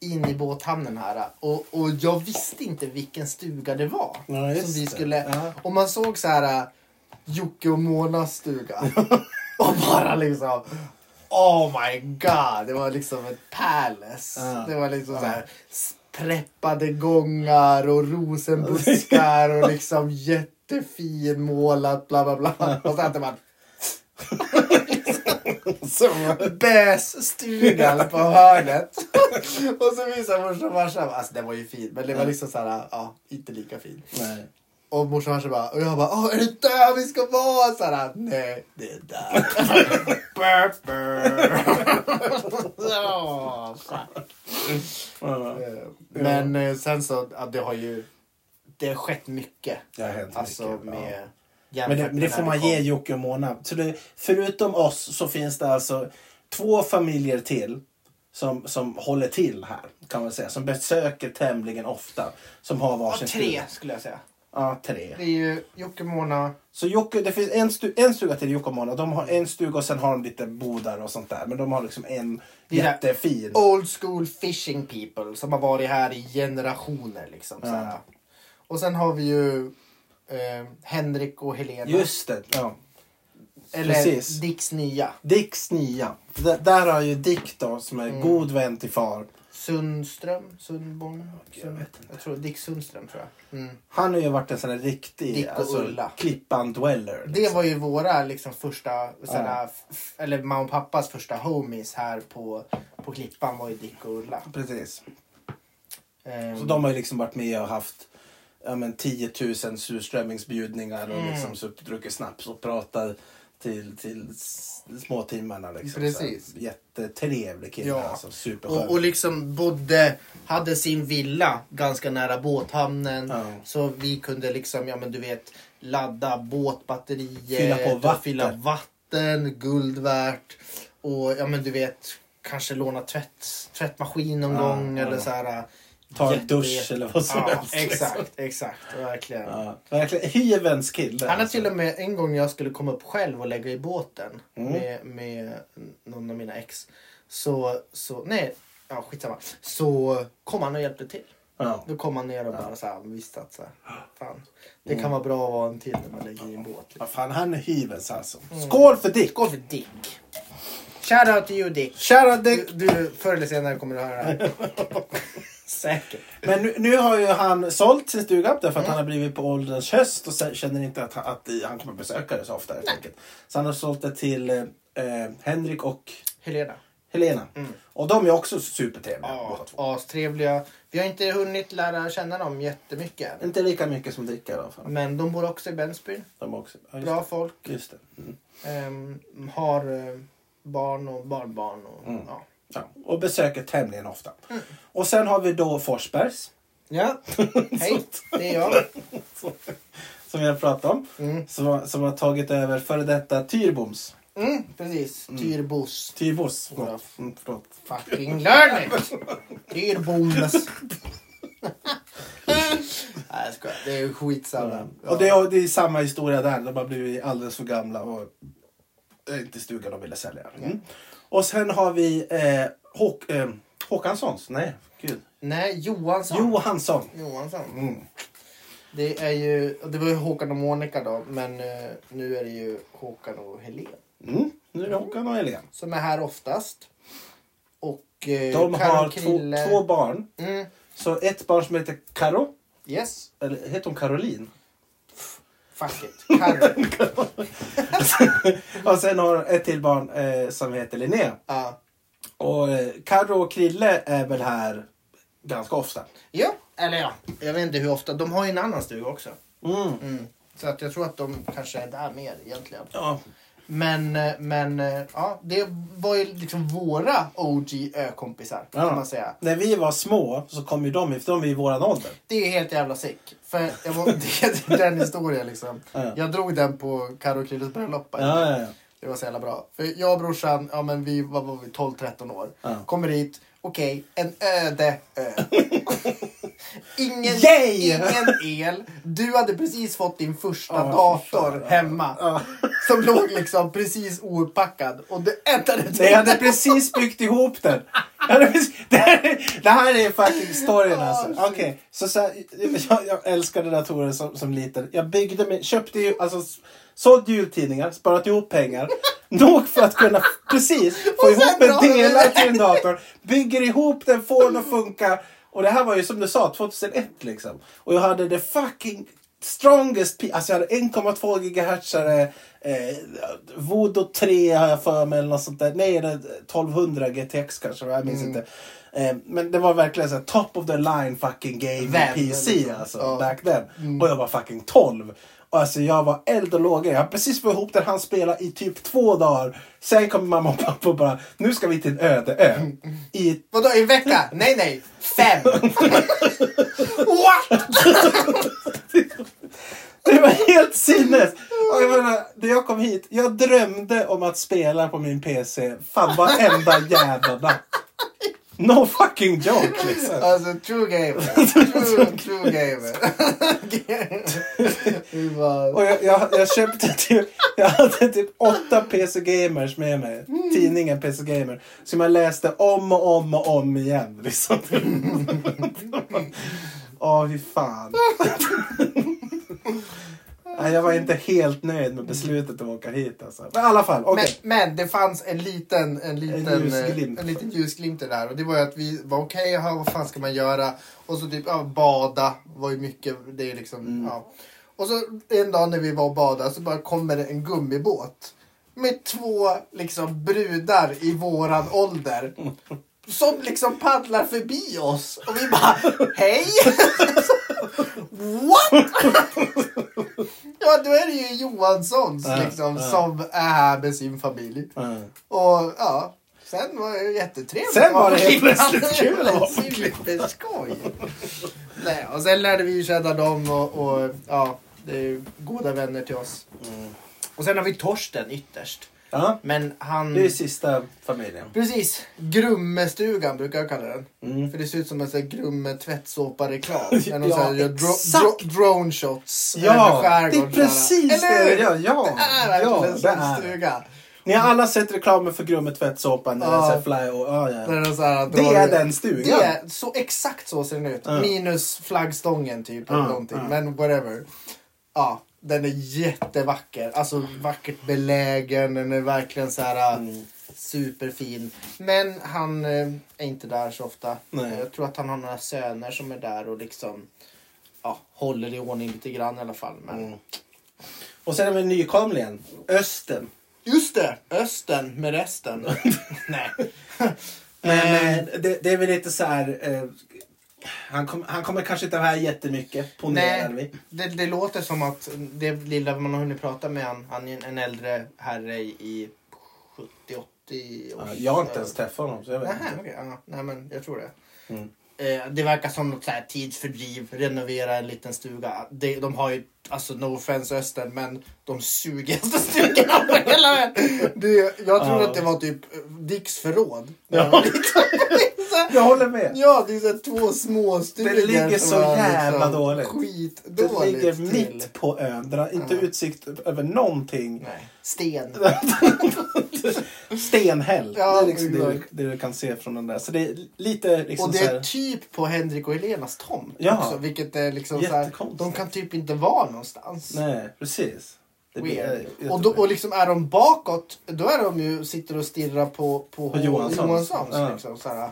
in i båthamnen här och, och jag visste inte vilken stuga det var. Ja, just som vi det. skulle, Ja. Och man såg så här Jocke och Monas stuga. och bara liksom Oh my god! Det var liksom ett palace. Ja. Det var liksom så här preppade gångar och rosenbuskar och liksom jättefin målat bla bla bla. Och så hade man Så. bässtugan på hörnet. och så visar morsan och farsan. Alltså den var ju fin men det var liksom så här, ja, inte lika fin. Nej. Och morsan och farsan bara, och jag bara, Åh, är det där vi ska vara? Så här, nej, det är där. Burp, burp. Ja, fuck. Ja. Eh, men eh, sen så, ja, det har ju, det har skett mycket. Det har hänt Alltså mycket, ja. med Men jämfört det, med men det när får vi man kom. ge Jocke och Mona. Så det, förutom oss så finns det alltså två familjer till som, som håller till här. kan man säga. Som besöker tämligen ofta. Som har Ja, varsin tre stuga. skulle jag säga. Ja, tre. Det är ju Jocke, Mona, Så Jocke, det finns en, stu, en stuga till Jocke och Mona. De har en stuga och sen har de lite bodar och sånt där. Men de har liksom en Det är där- jättefin. old school fishing people som har varit här i generationer. Liksom, Ja. såhär. Och sen har vi ju eh, Henrik och Helena. Just det. Ja. eller precis. Dicks nya. Dicks nia. D- där har ju Dick då som Mm. är god vän till far. Sundström? Sundborn? jag vet inte. jag tror Dick Sundström tror jag. Mm. Han har ju varit en sån här riktig alltså, Dick och Ulla. klippan dweller. Det var ju våra liksom, första, såhär, f- eller mamma och pappas första homies här på, på Klippan var ju Dick och Ulla. Precis. Ehm, Så de har ju liksom varit med och haft ja, men 10 000 surströmmingsbjudningar och Mm. liksom suttit och druckit snaps och pratat till, till s- småtimmarna. Liksom. Precis. Så här, jättetrevlig kille. Ja. Alltså, superskön. Och, och liksom bodde, hade sin villa ganska nära båthamnen. Ja. Så vi kunde liksom, ja men du vet, ladda båtbatterier. Fylla på och vatten. Fylla vatten, guld värt. Och ja men du vet, kanske låna tvätt, tvättmaskin någon Ja, gång. ja. Eller så här. Ta en dusch eller vad som ja, helst. liksom. Exakt, exakt. Verkligen. Ja, verkligen. Hyvens kille. Han har alltså. till och med en gång jag skulle komma upp själv och lägga i båten Mm. med, med någon av mina ex. Så, så nej, ja skitsamma. Så kom han och hjälpte till. Ja. Mm. Då kom han ner och bara så här, visste att så här, fan, det kan vara bra att vara en till när man lägger i en båt. liksom. Vad fan, han är hyvens alltså. Mm. Skål för Dick! Gå för Dick. Shoutout till you Dick. Kära Du, Dick! du, förr eller senare kommer du höra det här. Säkert. Men nu, nu har ju han sålt sin stuga därför att han har blivit på ålderns höst och sen känner inte att, han- att han kommer besöka det så ofta. Helt enkelt. Så han har sålt det till eh, eh, Henrik och Helena. Helena. Och de är också supertrevliga båda Mm. Ja, två. astrevliga. Vi har inte hunnit lära känna dem jättemycket än. Inte lika mycket som Dick i alla fall. Men de bor också i Bensby. De är också. Ja, just Bra folk. Det. Just det. Mm. Ehm, har eh, barn och barnbarn. Och, ja. Ja. Och besöker tämligen ofta. Mm. Och sen har vi då Forsbergs. ja, hej, det är jag. Som vi har pratat om. Som, som har tagit över före detta Tyrboms. Mm, precis, Tyrbos. Tyrbos. Ja. Förlåt. Mm, förlåt. Fucking learning! Tyrboms. Nej, jag skojar. Det är skitsamma. Ja. Och det är, det är samma historia där. De har blivit alldeles för gamla och det är inte stugan de ville sälja. Mm. Och sen har vi eh, Håk, eh, Håkanssons. Nej, gud. Nej, Johansson. Johansson. Johansson. Mm. Det, är ju, det var ju Håkan och Monica då, men eh, nu är det ju Håkan och Helen Mm. Nu är det Håkan och Helene. som är här oftast. Och eh, De har Karl två, Krille- två barn. Mm, Så ett barn som heter Karo. yes. Eller heter hon Caroline? Fuck it. Karro. och sen har ett till barn eh, som heter Linnea. Ja. Och eh, Karo och Krille är väl här ganska ofta. ja, eller ja. Jag vet inte hur ofta. De har ju en annan stuga också. Mm. Mm. Så att jag tror att de kanske är där mer egentligen. Ja. Men, eh, men eh, ja, det var ju liksom våra OG ö-kompisar Ja. kan man säga. När vi var små så kom ju de, för de är i våran ålder. Det är helt jävla sick. För jag var, det är den historien liksom. Ja. Jag drog den på Karo och Krilles bröllop. Ja, ja, ja. Det var så jävla bra. För jag och brorsan, ja men vi var, var vi 12-13 år. Ja. Kommer hit, okej, en öde ö. ingen, Yay! ingen el. Du hade precis fått din första Ja, dator fan. hemma. Som låg liksom precis outpackad. Och det enda du tänkte... Nej, jag hade precis byggt ihop den. Jag hade precis- Det här, det här är fucking storyn alltså. Ah, shit. Okej, så, så här, jag, jag älskade datorer som, som liten. Jag byggde mig, köpte ju, alltså s- sålde jultidningar, sparat ihop pengar. Nog för att kunna precis få Och ihop sen drar en du delar iväg. till en dator. Bygger ihop den, får den att funka. Och det här var ju som du sa, 2001 liksom. Och jag hade det fucking strongest, pi- alltså jag hade 1,2 gigahertz eh, Voodoo 3 har jag för mig eller något sånt där. Nej, det är 1200 GTX kanske, jag minns inte. Eh, men det var verkligen så här, top of the line fucking game Vän, PC liksom. alltså, Ja. back then. Och jag var fucking 12. Och alltså jag var eld och lågor. Jag hade precis fått ihop den, han spela i typ två dagar. Sen kommer mamma och pappa och bara, nu ska vi till en öde ö. I Vadå, en vecka? Nej, nej. Fem. What? Det var helt sinnes! Och jag menar, när jag kom hit, jag drömde om att spela på min PC fan varenda jävla natt. No fucking joke liksom. Alltså, true gamer. True, true gamer. Vi bara- Och jag, jag, jag köpte typ, jag hade typ åtta PC Gamers med mig. Tidningen PC Gamer. Som jag läste om och om och om igen. Liksom. Åh, fy fan. Nej, jag var inte helt nöjd med beslutet att åka hit alltså. Men i alla fall, okej. men, men det fanns en liten, en liten, En ljusglimt. eh, en liten ljusglimt i det här. Och det var ju att vi var okej, jaha, vad fan ska man göra? Och så typ ja, bada var ju mycket, det är liksom, Mm. ja. Och så en dag när vi var och badade så bara kommer det en gummibåt. Med två liksom brudar i våran ålder. Som liksom paddlar förbi oss. Och vi bara, hej! What? ja, då är det ju Johanssons Ja, liksom, ja. som är här med sin familj. Mm. Och ja, sen var det ju jättetrevligt. Sen var det på helt Klippan. plötsligt kul att vara på Superskoj. Nej, och sen lärde vi ju känna dem och, och ja, det är ju goda vänner till oss. Mm. Och sen har vi Torsten ytterst. Ja, Men han... det är sista familjen. Precis. Grummestugan brukar jag kalla den. Mm. För det ser ut som en sån här grumme tvättsåpa-reklam. När de Ja, så här gör dro- exakt. dro- drone shots Ja, över det är skärgården. precis Eller hur? det vi gör. Ja, Det är verkligen ja, en det sån är. stuga. Ni har alla sett reklamen för Grummet tvättsåpan. Ja. Ja. Fly och, ja, ja. När de så här Det drar- är den Det stugan. är så exakt så ser den ut. Ja. Minus flaggstången typ. Eller Ja, någonting. ja. Men whatever. Ja, den är jättevacker. Alltså vackert belägen. Den är verkligen så här äh, Mm. superfin. Men han eh, är inte där så ofta. Nej. Eh, Jag tror att han har några söner som är där och liksom ja, håller i ordning lite grann i alla fall. Men... Mm. Och sen har vi nykomlingen, Östen. Just det! Östen med resten. Nej. Men Eh, eh, det, det är väl lite så här... Eh, han, kom, han kommer kanske inte vara här jättemycket, ponerar vi. Nej, det, det låter som att det lilla man har hunnit prata med han, han är en äldre herre i 70-80 Ja, års... Jag har inte ens träffat honom, så jag vet Nähä, inte. okej, ja, nej men jag tror det. Mm. Eh, det verkar som något så här tidsfördriv, renovera en liten stuga. De, de har ju, alltså no offense Östen, men de sugigaste stugorna på hela världen. Det, jag trodde Ja. att det var typ eh, Dicks förråd. Ja. Jag håller med. Ja, det är så här två små stugor. Det ligger som så är jävla dåligt. Det Skitdåligt. ligger till. mitt på ön. Den har inte Ja. utsikt över någonting. Nej. Sten. Stenhäll. Ja, det är liksom det, du, exakt. det du kan se från den där. Så det är lite liksom Och så det är här, typ på Henrik och Helenas tomt Ja. också. Vilket är liksom så här, Jättekonstigt. De kan typ inte vara någonstans. Nej, precis. Det blir- Weird. jag- jag och, då, tror det. och liksom är de bakåt, då är de ju, sitter och stirrar på, på, På H- Johanssons. Johanssons Ja. liksom, så här.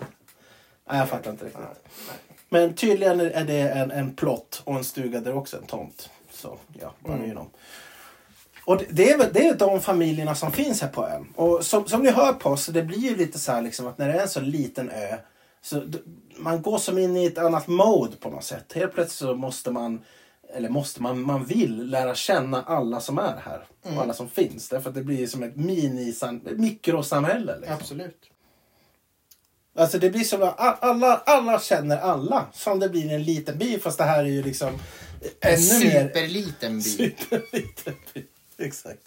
Nej, jag fattar inte riktigt. Nej, Men tydligen är det en, en plott och en stuga där också en tomt. Så ja, vad mm. om. Och det- det är, väl, det är de familjerna som finns här på ön. Och som, som ni hör på så det blir ju lite så här liksom att när det är en så liten ö så d- man går som in i ett annat mode på något sätt. Helt plötsligt så måste man, eller måste man, man vill lära känna alla som är här. Och alla som finns. Därför att det blir som ett mini, mikrosamhälle. Liksom. Absolut. Alltså det blir som att a- alla, alla känner alla. Som det blir i en liten by fast det här är ju liksom ännu mer superliten by. superliten by. Exakt.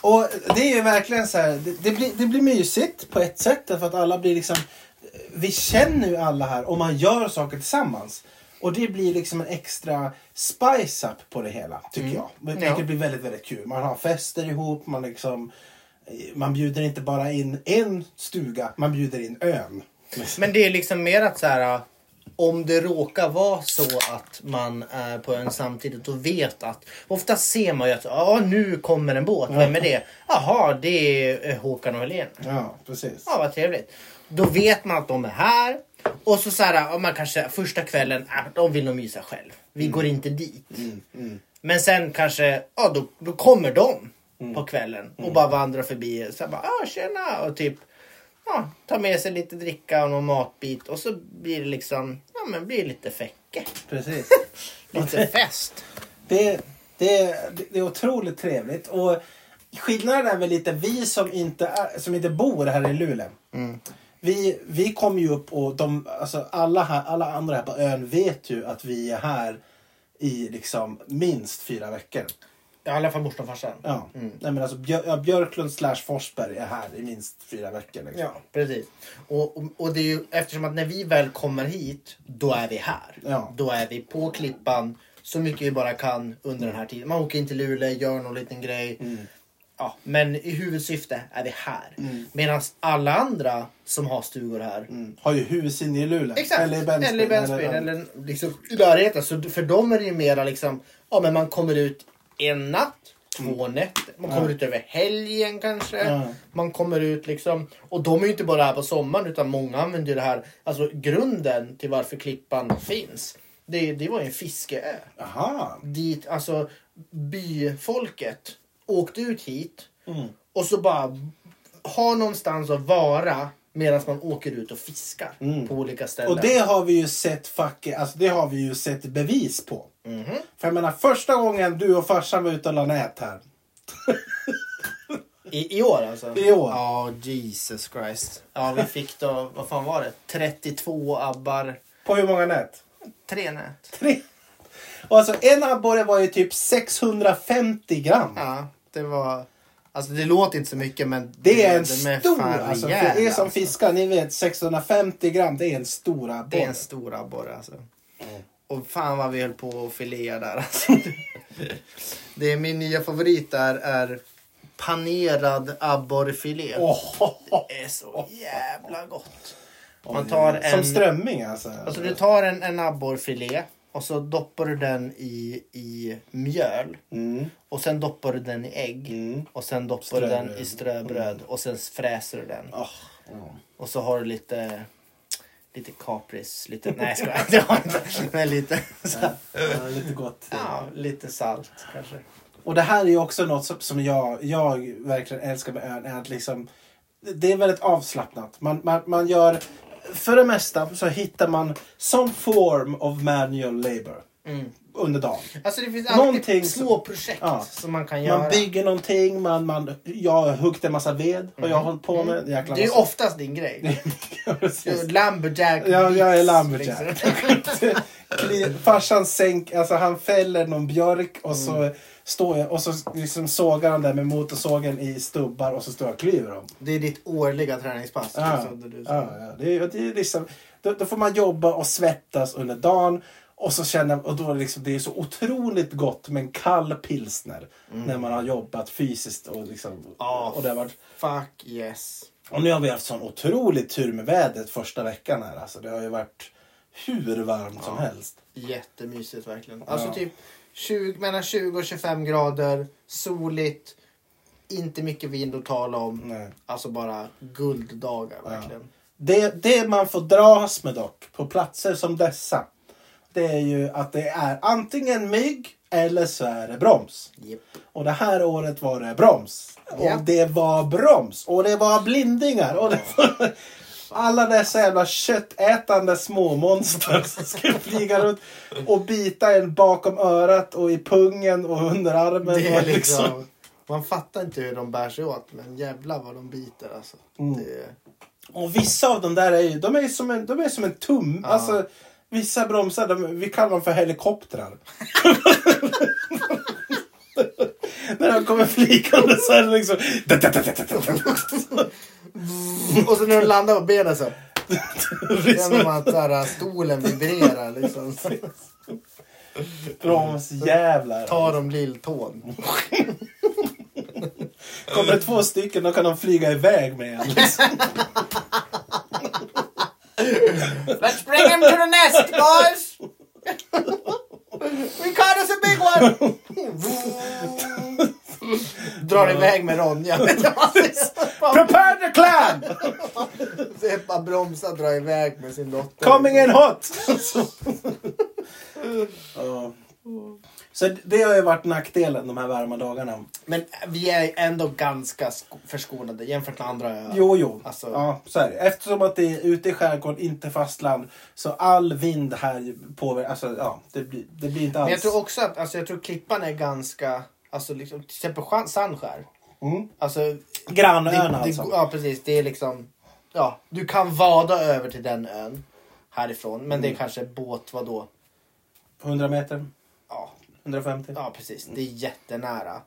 Och det är ju verkligen så här, det, det, blir, det blir mysigt på ett sätt för att alla blir liksom, vi känner ju alla här och man gör saker tillsammans. Och det blir liksom en extra spice-up på det hela, tycker jag. Men Ja. Det blir väldigt, väldigt kul. Man har fester ihop, man liksom, man bjuder inte bara in en stuga, man bjuder in ön. Men det är liksom mer att så här, om det råkar vara så att man är på en samtidigt och vet att... Ofta ser man ju att ja, nu kommer en båt. Vem är det? Jaha, det är eh, Håkan och Helena. Ja, precis. Ja, vad trevligt. Då vet man att de är här. Och så så här, ja, man kanske första kvällen, äh, de vill nog mysa själv. Vi går inte dit. Men sen kanske, ja då, då kommer de på kvällen och bara vandrar förbi. Så här, bara, ja tjena och typ ja, tar med sig lite dricka och någon matbit. Och så blir det liksom, ja men blir lite fäcke. precis. Lite fest. Det, det, det är otroligt trevligt. Och skillnaden är väl lite vi som inte, är, som inte bor här i Luleå. Mm. Vi, vi kom ju upp och de, alltså alla, här, alla andra här på ön vet ju att vi är här i liksom minst fyra veckor. Ja, I alla fall morsan och farsan. Ja. Mm. Nej, men alltså Björ, ja, Björklund slash Forsberg är här i minst fyra veckor. Liksom. Ja, precis. Och, och, och det är ju eftersom att när vi väl kommer hit, då är vi här. Ja. Då är vi på klippan så mycket vi bara kan under den här tiden. Man åker in till Luleå, gör någon liten grej. Mm. Ja, men i huvudsyfte är vi här. Medan alla andra som har stugor här Mm. Har ju hus inne i Luleå. Exakt. Eller i Bensbyn. Eller, eller- liksom i närheten. Så för dem är det ju mera liksom, ja men man kommer ut en natt, två nätter. Man kommer ut över helgen kanske. Mm. Ja. Man kommer ut liksom. Och de är ju inte bara här på sommaren utan många använder ju det här. Alltså grunden till varför Klippan finns. Det, det var ju en fiskeö. Aha. Dit, alltså byfolket åkte ut hit. Mm. Och så bara ha någonstans att vara medan man åker ut och fiskar på olika ställen. Mm. Och det har vi ju sett fuck, alltså det har vi ju sett bevis på. Mhm. För jag menar första gången du och farsan var ute och la nät här. I, I år alltså? I år. Ja, Jesus Christ. Ja, vi fick då, vad fan var det? 32 abbar. På hur många nät? Tre nät. Tre. Och alltså en abborre var ju typ 650 gram. Ja, det var... Alltså det låter inte så mycket men... Det är en de fan stor, alltså för er rejäla, som alltså. fiskar, ni vet 650 gram, det är en stor abborre. Det är en stor abborre alltså. Mm. Och fan vad vi höll på och filea där alltså. det är min nya favorit där är panerad abborrfilé. Åh, Det är så jävla gott. oj, Man tar oj. en... Som strömming alltså. Alltså du tar en, en abborrfilé och så doppar du den i, i mjöl. Mm. Och sen doppar du den i ägg. Mm. Och sen doppar du den i ströbröd. Och sen fräser du den. Åh, ja. Och så har du lite... Lite kapris, lite... Nej, jag skojar. Det har jag inte. Men lite... Så, här, Ja, lite gott. Äh. ja, lite salt kanske. Och det här är ju också något som, som jag, jag verkligen älskar med ön. Är att liksom, det är väldigt avslappnat. Man, man, man gör, för det mesta så hittar man some form of manual labor Mm. under dagen. Alltså det finns Någonting alltid som- små projekt Ja. som man kan göra. Man bygger någonting, man, man, jag har huggt en massa ved. Och jag har hållit på med en jäkla Mm. det är ju massa. oftast din grej. Precis. Lumberjack. Ja, jag är beats, lumberjack. liksom. Kli- Farsan sänk, alltså han fäller någon björk och Mm. så, står jag, och så liksom sågar han den med motorsågen i stubbar och så står jag och klyver dem. Det är ditt årliga träningspass. Ja, liksom, där du- ja, Ah, ja. Det är, det är liksom, då, då får man jobba och svettas under dagen. Och så känner och då är det liksom, det är så otroligt gott med en kall pilsner. När man har jobbat fysiskt och liksom. Ja. Och, det har varit, Fuck yes. och nu har vi haft sån otroligt tur med vädret första veckan här. Alltså, det har ju varit hur varmt som helst. Jättemysigt verkligen. Alltså Ja. typ 20, mellan 20 och 25 grader, soligt, inte mycket vind att tala om. Nej. Alltså bara gulddagar verkligen. Det, det man får dras med dock på platser som dessa. Det är ju att det är antingen mygg eller så är det broms. Japp. Och det här året var det broms. Och Ja. det var broms. Och det var blindingar. Och det var... Alla dessa jävla köttätande småmonster som skulle flyga runt och bita en bakom örat och i pungen och under armen. Det är och liksom, man fattar inte hur de bär sig åt men jävlar vad de biter alltså. Mm. Det är, Och vissa av dem där är ju, de är ju som en, de är som en tum. Alltså, vissa bromsar, de, vi kallar dem för helikoptrar. När de kommer flygande så är det liksom... Och så när de landar på benen så känner liksom man att så här, stolen vibrerar. Liksom. Så Mm. Bromsjävlar. Tar de lilltån. Kommer det två stycken då kan de flyga iväg med en. Liksom. Let's bring him to the nest boys! We caught us a big one! Drar iväg med Ronja. Prepare the clan! Så Ebba bromsar och drar iväg med sin dotter. Coming in hot! Ja. Så det har ju varit nackdelen de här varma dagarna. Men vi är ändå ganska sko- förskonade jämfört med andra öar. Jo, jo. Alltså- Ja, så är det. Eftersom att det är ute i skärgården, inte fastland. Så all vind här påverkar. Alltså, ja, det, blir, det blir inte Men jag alls... tror också att alltså, jag tror klippan är ganska... Alltså liksom, till exempel Sjan- Sandskär. Mm. Alltså, Grannön det, alltså. det, ja, precis. Det är liksom... Ja, du kan vada över till den ön härifrån. Men det är kanske båt, vadå? 100 meter, Ja, 150. ja precis. Det är jättenära.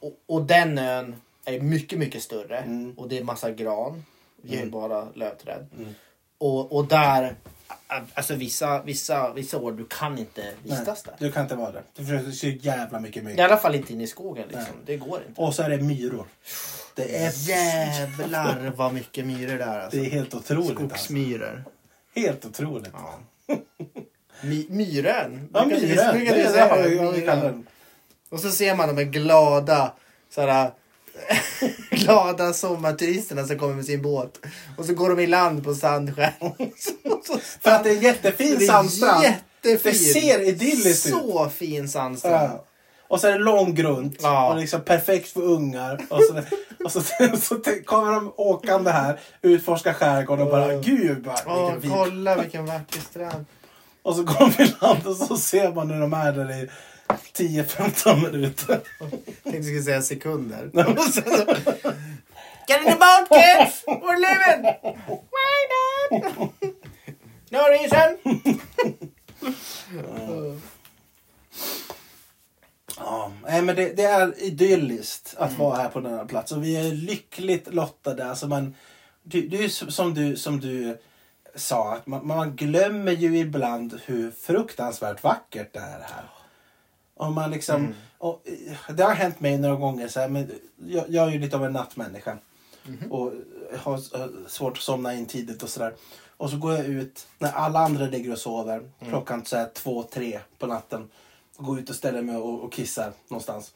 Och, och den ön är mycket, mycket större. Mm. Och det är massa gran. Vi har ju bara lövträd. Mm. Och, och där... Alltså vissa, vissa, vissa år, du kan inte Nej, vistas där. du kan inte vara där. Det finns så jävla mycket mygg. I alla fall inte inne i skogen. Liksom. Det går inte. Och så är det myror. Det är, Jävlar vad mycket myror det är. det Alltså. är helt otroligt. Alltså. Skogsmyror. Helt otroligt. Ja. My- myren. Ja, Brukar myror. vi- Det brukar vi är det säga har vi- myren? har vi kallat den. Och så ser man de här glada såhär, glada sommarturisterna som kommer med sin båt. Och så går de i land på sandskär. Så- så- För att det är en jättefin Det är sandstrand. jättefin. Det ser idylliskt ut. Så fin sandstrand. Ja. Och så är det långgrunt Ja. och liksom perfekt för ungar. Och så, och så, så t- kommer de åkande här, utforskar skärgården och bara gud bara, Åh, vilken vit. kolla vilken vacker strand. Och så kommer vi i land och så ser man när de är där i 10-15 minuter. Jag tänkte jag skulle säga sekunder. Och sen så, Get in the boat kids! We're leaving! Why not? No reason! Ja, nej, men det, det är idylliskt att vara här på den här platsen. Vi är lyckligt lottade. Alltså man, du, du, som, du, som du sa, att man, man glömmer ju ibland hur fruktansvärt vackert det är här. Om man liksom, Mm. och, eh, det har hänt mig några gånger, så här, men jag, jag är ju lite av en nattmänniska. Mhm. Och har s- har svårt att somna in tidigt och sådär. Och så går jag ut när alla andra ligger och sover. Mm. Klockan så här, två, tre på natten. Och går ut och ställer mig och, och kissar någonstans.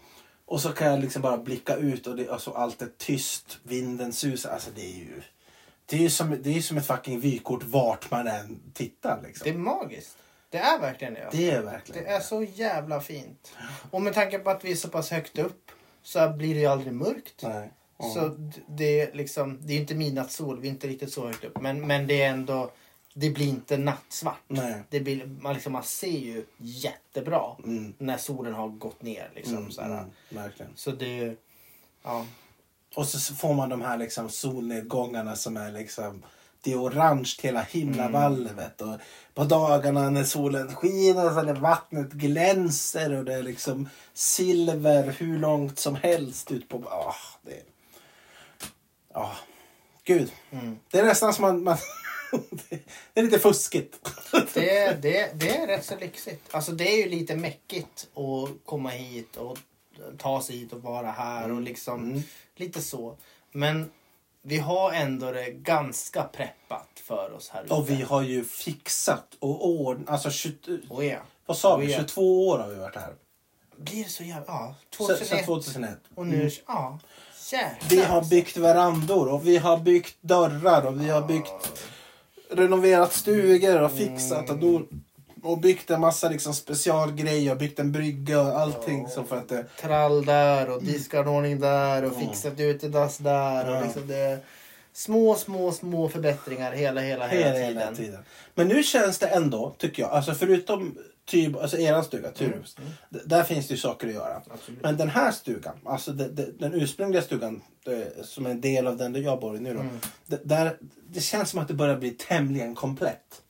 Och så kan jag liksom bara blicka ut och det, alltså, allt är tyst. Vinden susar. Alltså det är ju... Det är ju som, det är ju som ett fucking vykort vart man än tittar liksom. Det Det, är magiskt. Det är verkligen det. är verkligen... Det är så jävla fint. Och med tanke på att vi är så pass högt upp så blir det ju aldrig mörkt. Nej. Ja. Så d- det är liksom, det är ju inte midnattssol, vi är inte riktigt så högt upp. Men, men det är ändå, det blir inte nattsvart. Nej. Det blir, man, liksom, man ser ju jättebra Mm. när solen har gått ner. Liksom, Mm, så, här. mm, verkligen. så det är ju, ja. Och så får man de här liksom solnedgångarna som är liksom det är orange till hela himlavalvet och på dagarna när solen skiner så är det vattnet glänser och det är liksom silver hur långt som helst ut på... Ah, det är... ah, gud. Det är nästan som man... man det är lite fuskigt. Det, det, det är rätt så lyxigt. Alltså det är ju lite mäckigt att komma hit och ta sig hit och vara här Mm. och liksom lite så. Men vi har ändå det ganska preppat för oss här ute. Och vi har ju fixat och ordnat... Alltså, 20, Och ja. vad sa Och vi? ja. 22 år har vi varit här. Blir det så jävla... Ja, Sen- Sen 2001. 2001. Och nu... Ja. Jäklar. Vi har byggt verandor och vi har byggt dörrar och vi har byggt renoverat stugor och fixat och, do- och byggt en massa liksom specialgrejer och byggt en brygga och allting. Så för att det, Trall där och diskanordning där och fixat utedass där. Ja. Och liksom det är små, små, små förbättringar hela, hela, hela, hela, hela tiden. tiden. Men nu känns det ändå, tycker jag, alltså förutom typ, alltså eran stuga, Tyrus, d- där finns det ju saker att göra. Absolut. Men den här stugan, alltså de, de, den ursprungliga stugan eh, som är en del av den där jag bor i nu då. d- Där, det känns som att det börjar bli tämligen komplett.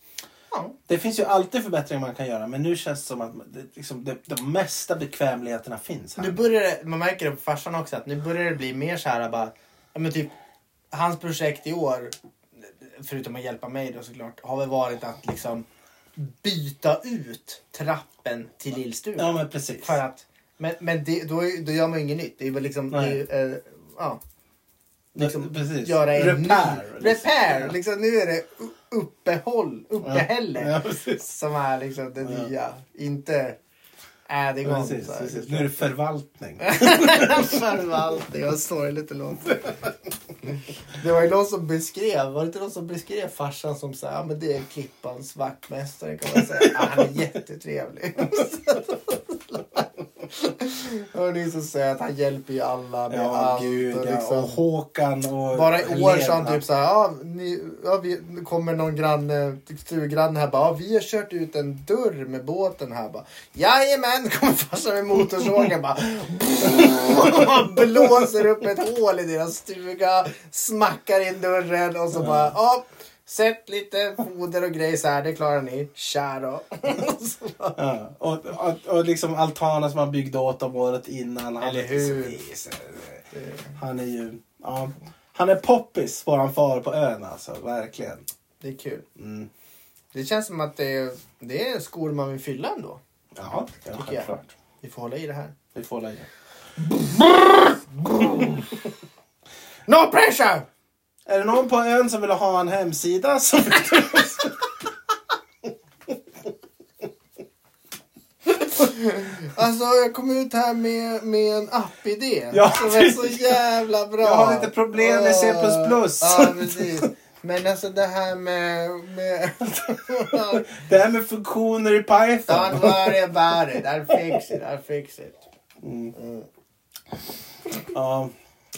Ja. Det finns ju alltid förbättringar man kan göra men nu känns det som att det, liksom, det, de mesta bekvämligheterna finns Nu här. börjar det, man märker det på farsan också, att nu börjar det bli mer så här bara, ja men typ, hans projekt i år, förutom att hjälpa mig då såklart, har väl varit att liksom byta ut trappen till lillstugan. Ja men precis. För att, men men det, då, är- då gör man ju inget nytt. Det är väl liksom, det är, ju, eh, ja, liksom precis. göra en Repair, ny, repair. Liksom, nu är det u- uppehåll, uppehälle Ja, precis. som är liksom det Ja. nya. Inte, är det igång. Precis, så här. precis. Nu är det förvaltning. Förvaltning, vad sorgligt det låter. Det var ju någon som beskrev, var det inte någon som beskrev farsan som så här, ja men det är Klippans vaktmästare kan man säga. Ja, han är jättetrevlig. Och det är så söt, han hjälper ju alla med Ja, allt. gud. och liksom- Ja, och Håkan och bara i år sa han Helena. typ så här, ja, ni, ja vi nu kommer någon granne, stugranne här bara, ja vi har kört ut en dörr med båten här bara. Jajamän, kommer farsan med motorsågen bara. Och man blåser upp ett hål i deras stuga, smackar in dörren och så bara, ja. Sätt lite foder och grejs här, det klarar ni. Tja då. Så bara, Ja, och, och, och liksom altanen som han byggde åt dem året innan. Han, liksom- Eller hur? Han är ju... Ja, han är poppis, våran far på ön alltså. Verkligen. Det är kul. Mm. Det känns som att det är, det är skor man vill fylla ändå. Ja, ja jag. självklart. Vi får hålla i det här. Vi får lägga. No pressure! Är det någon på ön som vill ha en hemsida? Så... Alltså jag kom ut här med, med en app-idé Ja, som är så jävla bra. Jag har lite problem med C++. Ja, precis. Men alltså det här med... med Det här med funktioner i Python. Don't worry about it, I'll fix it, I'll fix it. Ja.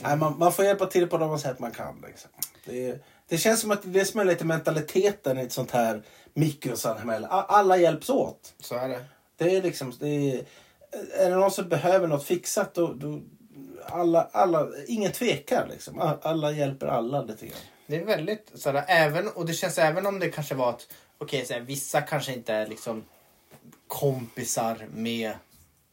Nej, man, man får hjälpa till på de sätt man kan. Liksom. Det, det känns som att det är det som är lite mentaliteten i ett sånt här mikrosamhälle. A- Alla hjälps åt. Så är det. Det är liksom... Det är, är det någon som behöver något fixat då... då alla, alla, ingen tvekar liksom. A- Alla hjälper alla lite grann. Det är väldigt sådär, även, och det känns även om det kanske var att okej, såhär, vissa kanske inte är liksom kompisar med,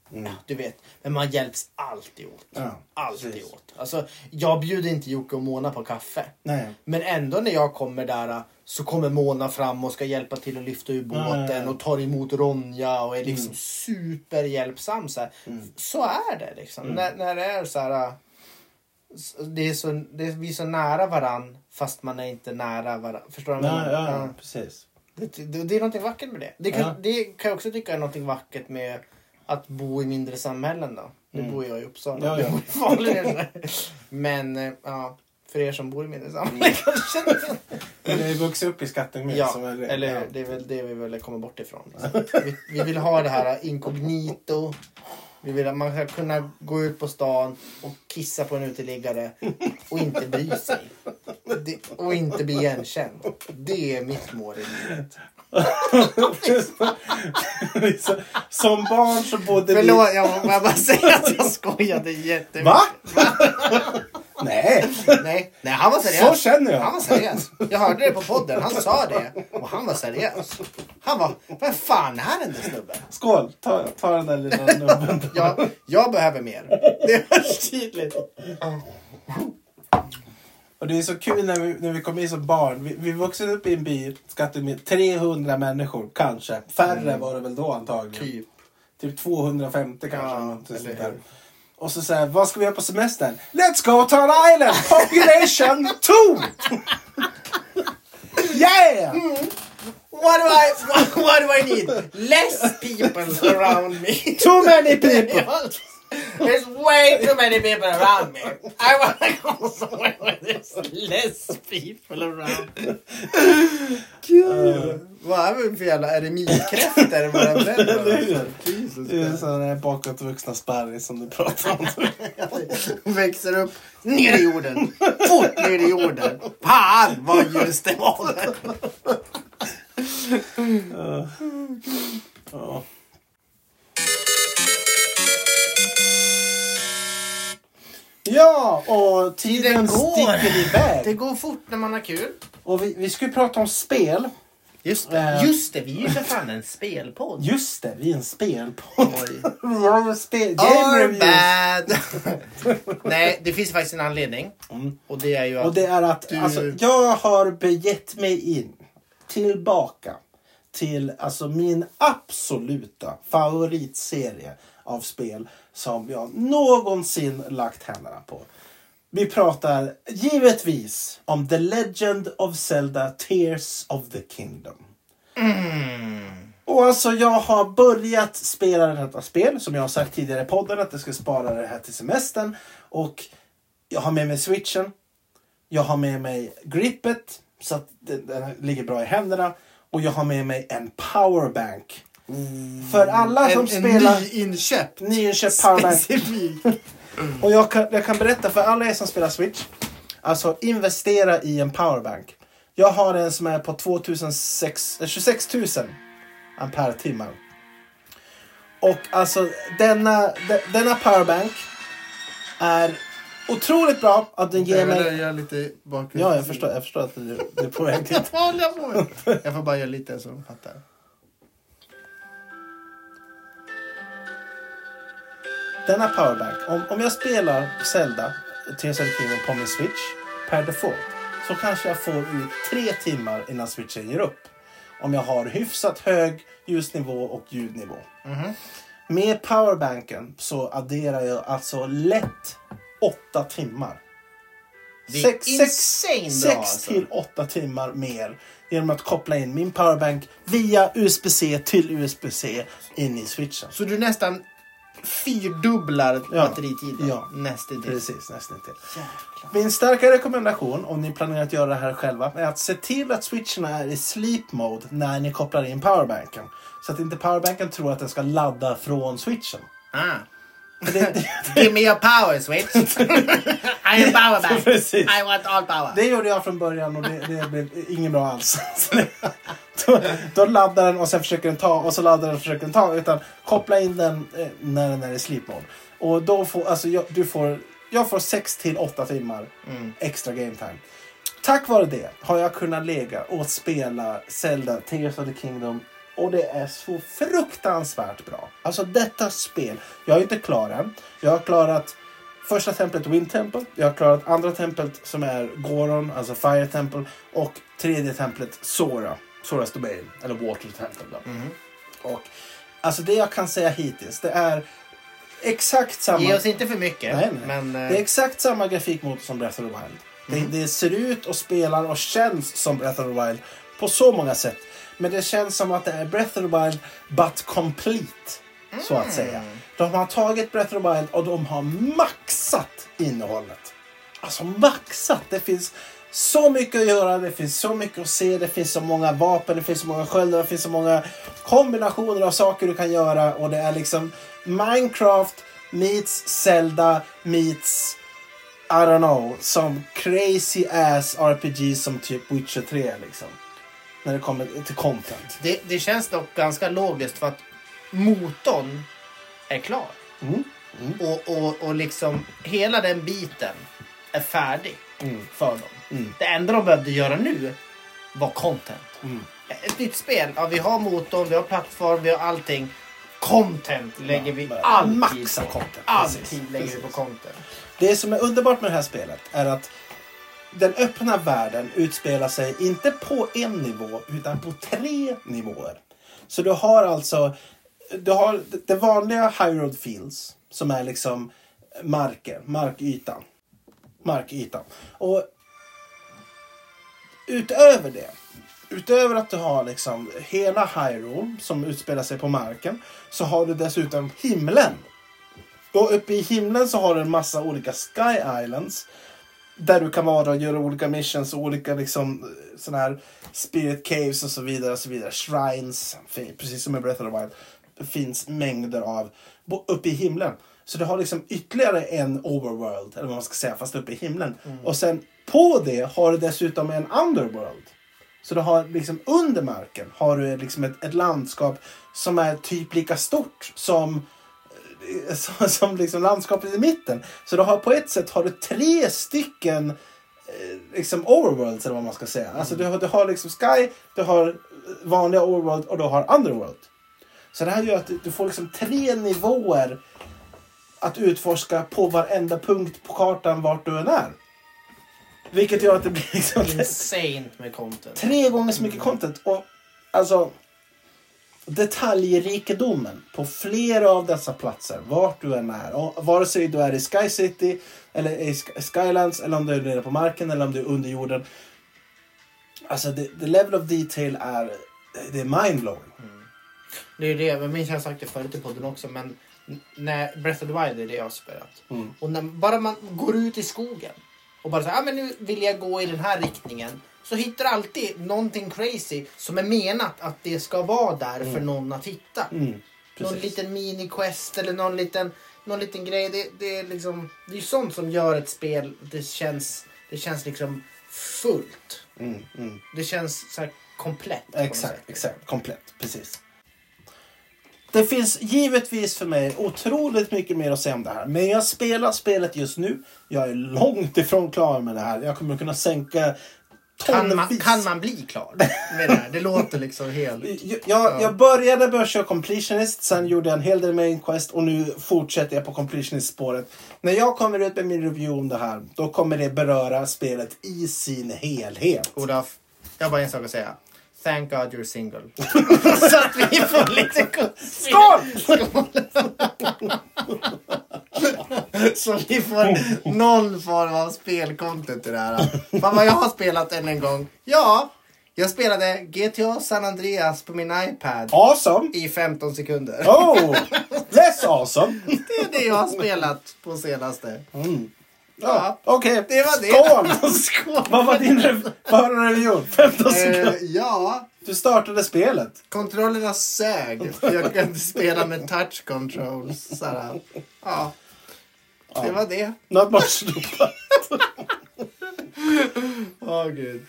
ja, du vet, men man hjälps alltid åt. Ja, alltid precis. åt. Alltså, jag bjuder inte Jocke och Mona på kaffe. Nej. Men ändå när jag kommer där så kommer Mona fram och ska hjälpa till att lyfta ur båten Ja, Mm. ja, ja. och tar emot Ronja och är liksom superhjälpsam. Så, här. Mm. så är det liksom. När, när det är så här... äh, s- Det är så, det är, vi är så nära varann fast man är inte nära varann. Förstår du? vad jag Ja, menar? ja, Ja. ja, precis. Det, det, det är någonting vackert med det. Det kan, Ja. det kan jag också tycka är någonting vackert med att bo i mindre samhällen då. Nu bor jag i Uppsala. Mm. Ja, du ja. bor i Falun. Men eh, ja, för er som bor i mindre Mm. samhällen kanske. Eller är vuxit upp i Skattungemed. som Ja, är det. eller Ja. hur? Det är väl det vi vill komma bort ifrån. liksom. Vi, vi vill ha det här inkognito. Vi vill att man ska kunna gå ut på stan och kissa på en uteliggare och inte bry sig. Det, och inte bli igenkänd. Det är mitt mål i livet. Så- Som barn så bodde Förlåt, jag må- jag bara säga att jag skojade jättemycket. vi... Va? Nej, Nej, nej, han var så seriös. känner jag. Han var seriös. Jag hörde det på podden. Han sa det. Och han var seriös. Han var, vad fan är den där snubben? Skål, ta, ta den där lilla nubben. Jag, jag behöver mer. Det hörs tydligt. Och det är så kul när vi, när vi kom in som barn. Vi, vi vuxen upp i en by, Skattungemed, 300 människor kanske. Färre var det väl då antagligen. Mm. Typ. Typ 250 kanske. Ja, eller något sånt eller där. hur. Och så säger vad ska vi göra på semestern? Let's go to an island! Population 2! yeah! What do I, what, what do I need? Less people around me. Too many people! There's way too many people around me. I wanna go somewhere where there's less people around me. Kul! Vad är vi för jävla eremitkräftor i våra bränder? Det är sådana där bakåtvuxna sparris som du pratar om. Växer upp ner i jorden. Fort ner i jorden. Fan vad ljust det var där. Ja. Ja, och tiden Tiden går. sticker iväg. Det går fort när man har kul. Och vi, vi skulle prata om spel. Just det. Eh, Just det, vi är ju för fan en spelpodd. Just det, vi är en spelpodd. Oj. Spel, game Or reviews. bad. Nej, det finns faktiskt en anledning. Och det är ju att... Mm. Och det är att Du- alltså, jag har begett mig in tillbaka till alltså, min absoluta favoritserie av spel som jag någonsin lagt händerna på. Vi pratar givetvis om The Legend of Zelda Tears of the Kingdom. Och alltså jag har börjat spela detta spel som jag har sagt tidigare i podden att jag ska spara det här till semestern. Och jag har med mig switchen. Jag har med mig gripet så att den, den ligger bra i händerna. Och jag har med mig en powerbank. För alla som Mm. en, en spelar... nyinköpt. Nyinköpt powerbank. Specifik. Och jag kan, jag kan berätta för alla er som spelar Switch. Alltså investera i en powerbank. Jag har en som är på 2006, eh, 26 000 ampere timmar. Och alltså denna, de, denna powerbank är otroligt bra att den ger Jag mig... vill göra lite bakgrund. Ja, jag förstår, jag förstår att du, du är på väg dit. Jag håller på. Jag får bara göra lite så de fattar. Denna powerbank, om, om jag spelar Zelda, Tears of the Kingdom på min Switch per default så kanske jag får ut tre timmar innan switchen ger upp. Om jag har hyfsat hög ljusnivå och ljudnivå. Mhm. Med powerbanken så adderar jag alltså lätt åtta timmar. Det är Sex- insane bra, sex, sex alltså. till åtta timmar mer genom att koppla in min powerbank via USB-C till USB-C in i switchen. Så du nästan fyrdubblar Ja. batteritiden. Ja. Nästan det. Precis, nästan till. Min starka rekommendation om ni planerar att göra det här själva är att se till att switcherna är i sleep mode när ni kopplar in powerbanken. Så att inte powerbanken tror att den ska ladda från switchen. Ah. För det, Give me your power switch. I am power back. Precis. I want all power. det gjorde jag från början och det, det blev inget bra alls. Så det- Då, då laddar den och sen försöker den ta och så laddar den och försöker den ta. Utan koppla in den eh, när den är i sleep mode. Och då får, alltså, jag, du får, jag får 6 till 8 timmar extra game time. Tack vare det har jag kunnat lägga och spela Zelda Tears of the Kingdom och det är så fruktansvärt bra. Alltså detta spel, jag är inte klar än. Jag har klarat första templet Wind Temple, jag har klarat andra templet som är Goron, alltså Fire Temple och tredje templet Sora, Soras Domain, eller Water Temple. Då. Mhm. Och alltså det jag kan säga hittills, det är exakt samma... Ge oss inte för mycket. Nej, nej. Men, eh, Mhm. Det är exakt samma grafikmotor som Breath of the Wild. Det, det ser ut och spelar och känns som Breath of the Wild på så många sätt. Men det känns som att det är Breath of the Wild but complete. Så Mm. att säga. De har tagit Breath of the Wild och de har maxat innehållet. Alltså maxat. Det finns så mycket att göra, det finns så mycket att se, det finns så många vapen, det finns så många sköldar, det finns så många kombinationer av saker du kan göra och det är liksom Minecraft meets Zelda meets I don't know, som crazy ass RPG som typ Witcher 3 liksom. När det kommer till content. det, det känns dock ganska logiskt för att motorn är klar. Mm, Och, och, och liksom hela den biten är färdig Mm. för dem. Det enda de behövde göra nu var content. Mm. Ett nytt spel. Ja, vi har motorn, vi har plattform, vi har allting. Content lägger vi bara alltid maxa på. content. Precis, Alltid lägger vi på precis. content. Det som är underbart med det här spelet är att den öppna världen utspelar sig inte på en nivå utan på tre nivåer. Så du har alltså du har det vanliga High Road Fields som är liksom marken, markytan. Markytan. Och utöver det, utöver att du har liksom hela Hyrule som utspelar sig på marken så har du dessutom himlen. Och uppe i himlen så har du en massa olika Sky Islands. Där du kan vara och göra olika missions och olika liksom sån här spirit caves och så vidare. Och så vidare. Shrines, fin- precis som i Breath of the Wild. Det finns mängder av bo- uppe i himlen. Så du har liksom ytterligare en overworld, eller vad man ska säga, fast uppe i himlen. Och sen på det har du dessutom en underworld. Så du har liksom under marken har du liksom ett, ett landskap som är typ lika stort som eh, som, som liksom landskapet i mitten. Så du har på ett sätt har du tre stycken eh, liksom overworlds eller vad man ska säga. Alltså du, har- du har liksom Sky, du har vanliga overworld och du har underworld. Så det här gör att du- du får liksom tre nivåer att utforska på varenda punkt på kartan vart du än är. Vilket gör att det blir liksom Insane med content. tre gånger så mycket content. Och alltså detaljrikedomen på flera av dessa platser, vart du än är. Och vare sig du är i Sky City, eller i Sk- Skylands, eller om du är nere på marken eller om du är under jorden. Alltså, the, the level of detail är, det är mindblowing. Det är ju det, jag minns jag har sagt det förut i podden också, men n- när Breath of the Wild är det jag har spelat. Mm. Och när bara man går ut i skogen och bara så här, ah, men nu vill jag gå i den här riktningen. Så hittar du alltid någonting crazy som är menat att det ska vara där för någon att hitta. Mm, någon precis. liten mini-quest eller någon liten, någon liten grej. Det, det är liksom, det är sånt som gör ett spel, det känns, det känns liksom fullt. Mm, mm. Det känns så här komplett. på något sätt. Exakt, exakt. Komplett. Precis. Det finns givetvis för mig otroligt mycket mer att säga om det här. Men jag spelar spelet just nu. Jag är långt ifrån klar med det här. Jag kommer kunna sänka Kan man, tonvis. kan man bli klar? Med det, här? det låter liksom helt... Jag, jag, jag började med att köra completionist, sen gjorde jag en hel del main quest och nu fortsätter jag på completionist-spåret. När jag kommer ut med min review om det här, då kommer det beröra spelet i sin helhet. Olaf, jag har bara en sak att säga. Thank God you're single. så att vi får lite kuss. Skål! Så vi får noll form av spelcontent i det här. Fan vad jag har spelat än en gång. Ja, jag spelade GTA San Andreas på min iPad Awesome! i 15 sekunder. Oh! Yes, awesome! Det är det jag har spelat på senaste. Ja, okej. Det var det. Skål! Skål! Vad var din rev- vad var din religion? 15 Eh, sekunder. ja, Du startade spelet. Kontrollerna sög. för Jag kunde inte spela med touch controls. Såhär. Ja. Det var det. Något bara slopa. Åh gud.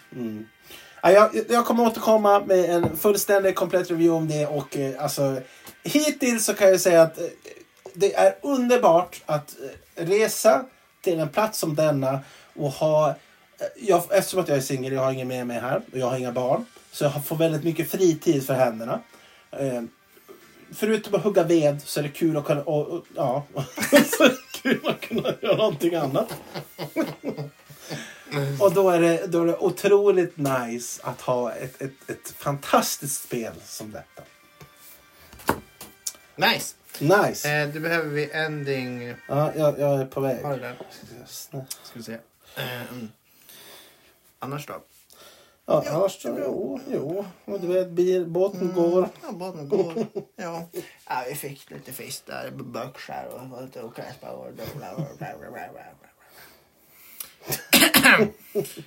Ja, jag, jag kommer återkomma med en fullständig komplett review om det och eh, alltså hittills så kan jag säga att eh, det är underbart att eh, resa till en plats som denna och ha eh, jag, eftersom att jag är singel, jag har ingen med mig här och jag har inga barn. Så jag får väldigt mycket fritid för händerna. Eh, förutom att hugga ved så är det kul att kunna, och, och, ja, så är det kul att kunna göra någonting annat. Och då är, det, då är det otroligt nice att ha ett, ett, ett fantastiskt spel som detta. Nice. Nice! Eh, du behöver vi ending. Ja, jag, jag är på väg. Har du den? Snä- Ska vi se. Eh, mm. Annars då? Ja, annars så... Jo, jo. Och du vet, bil, båten går. Ja, båten går. ja. ja, vi fick lite fisk där i Berkshire och var lite och kräspa och bla, bla, bla, bla, bla, bla, bla.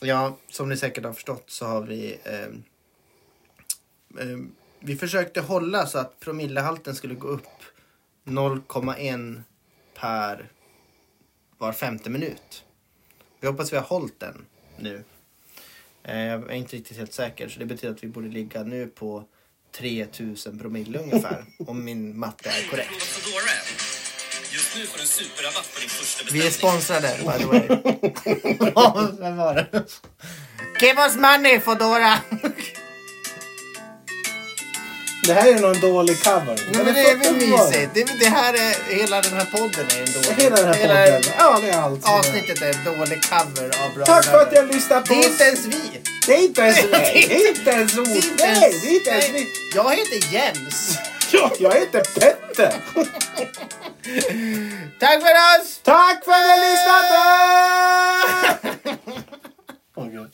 Ja, som ni säkert har förstått så har vi... ehm, ehm, vi försökte hålla så att promillehalten skulle gå upp 0,1 per var femte minut. Vi hoppas vi har hållit den nu. Eh, Jag är inte riktigt helt säker, så det betyder att vi borde ligga nu på 3000 promille ungefär, om min matte är korrekt. Förlåt för Dora. Just nu får du en superrabatt på din första Vi är beställning. sponsrade, by the way. Vem var det? Give us money, Foodora! Det här är nog en dålig cover. Nej, men det är väl mysigt? Det, är- det här är, hela den här podden är en dålig... Hela den här podden. Ja, det är allt. som är. Avsnittet är en dålig cover av Bra Tack för att Bröder. ni har lyssnat på Det är oss. inte ens vi! Det är inte ens vi. Det är inte ens Det är vi. inte Nej, det är inte ens vi. Jag heter Jens. Jag heter Petter. Tack för oss! Tack för att ni har lyssnat! Åh, Gud.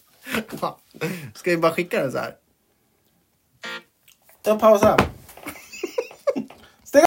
Ska vi bara skicka den så här? Jag pausar.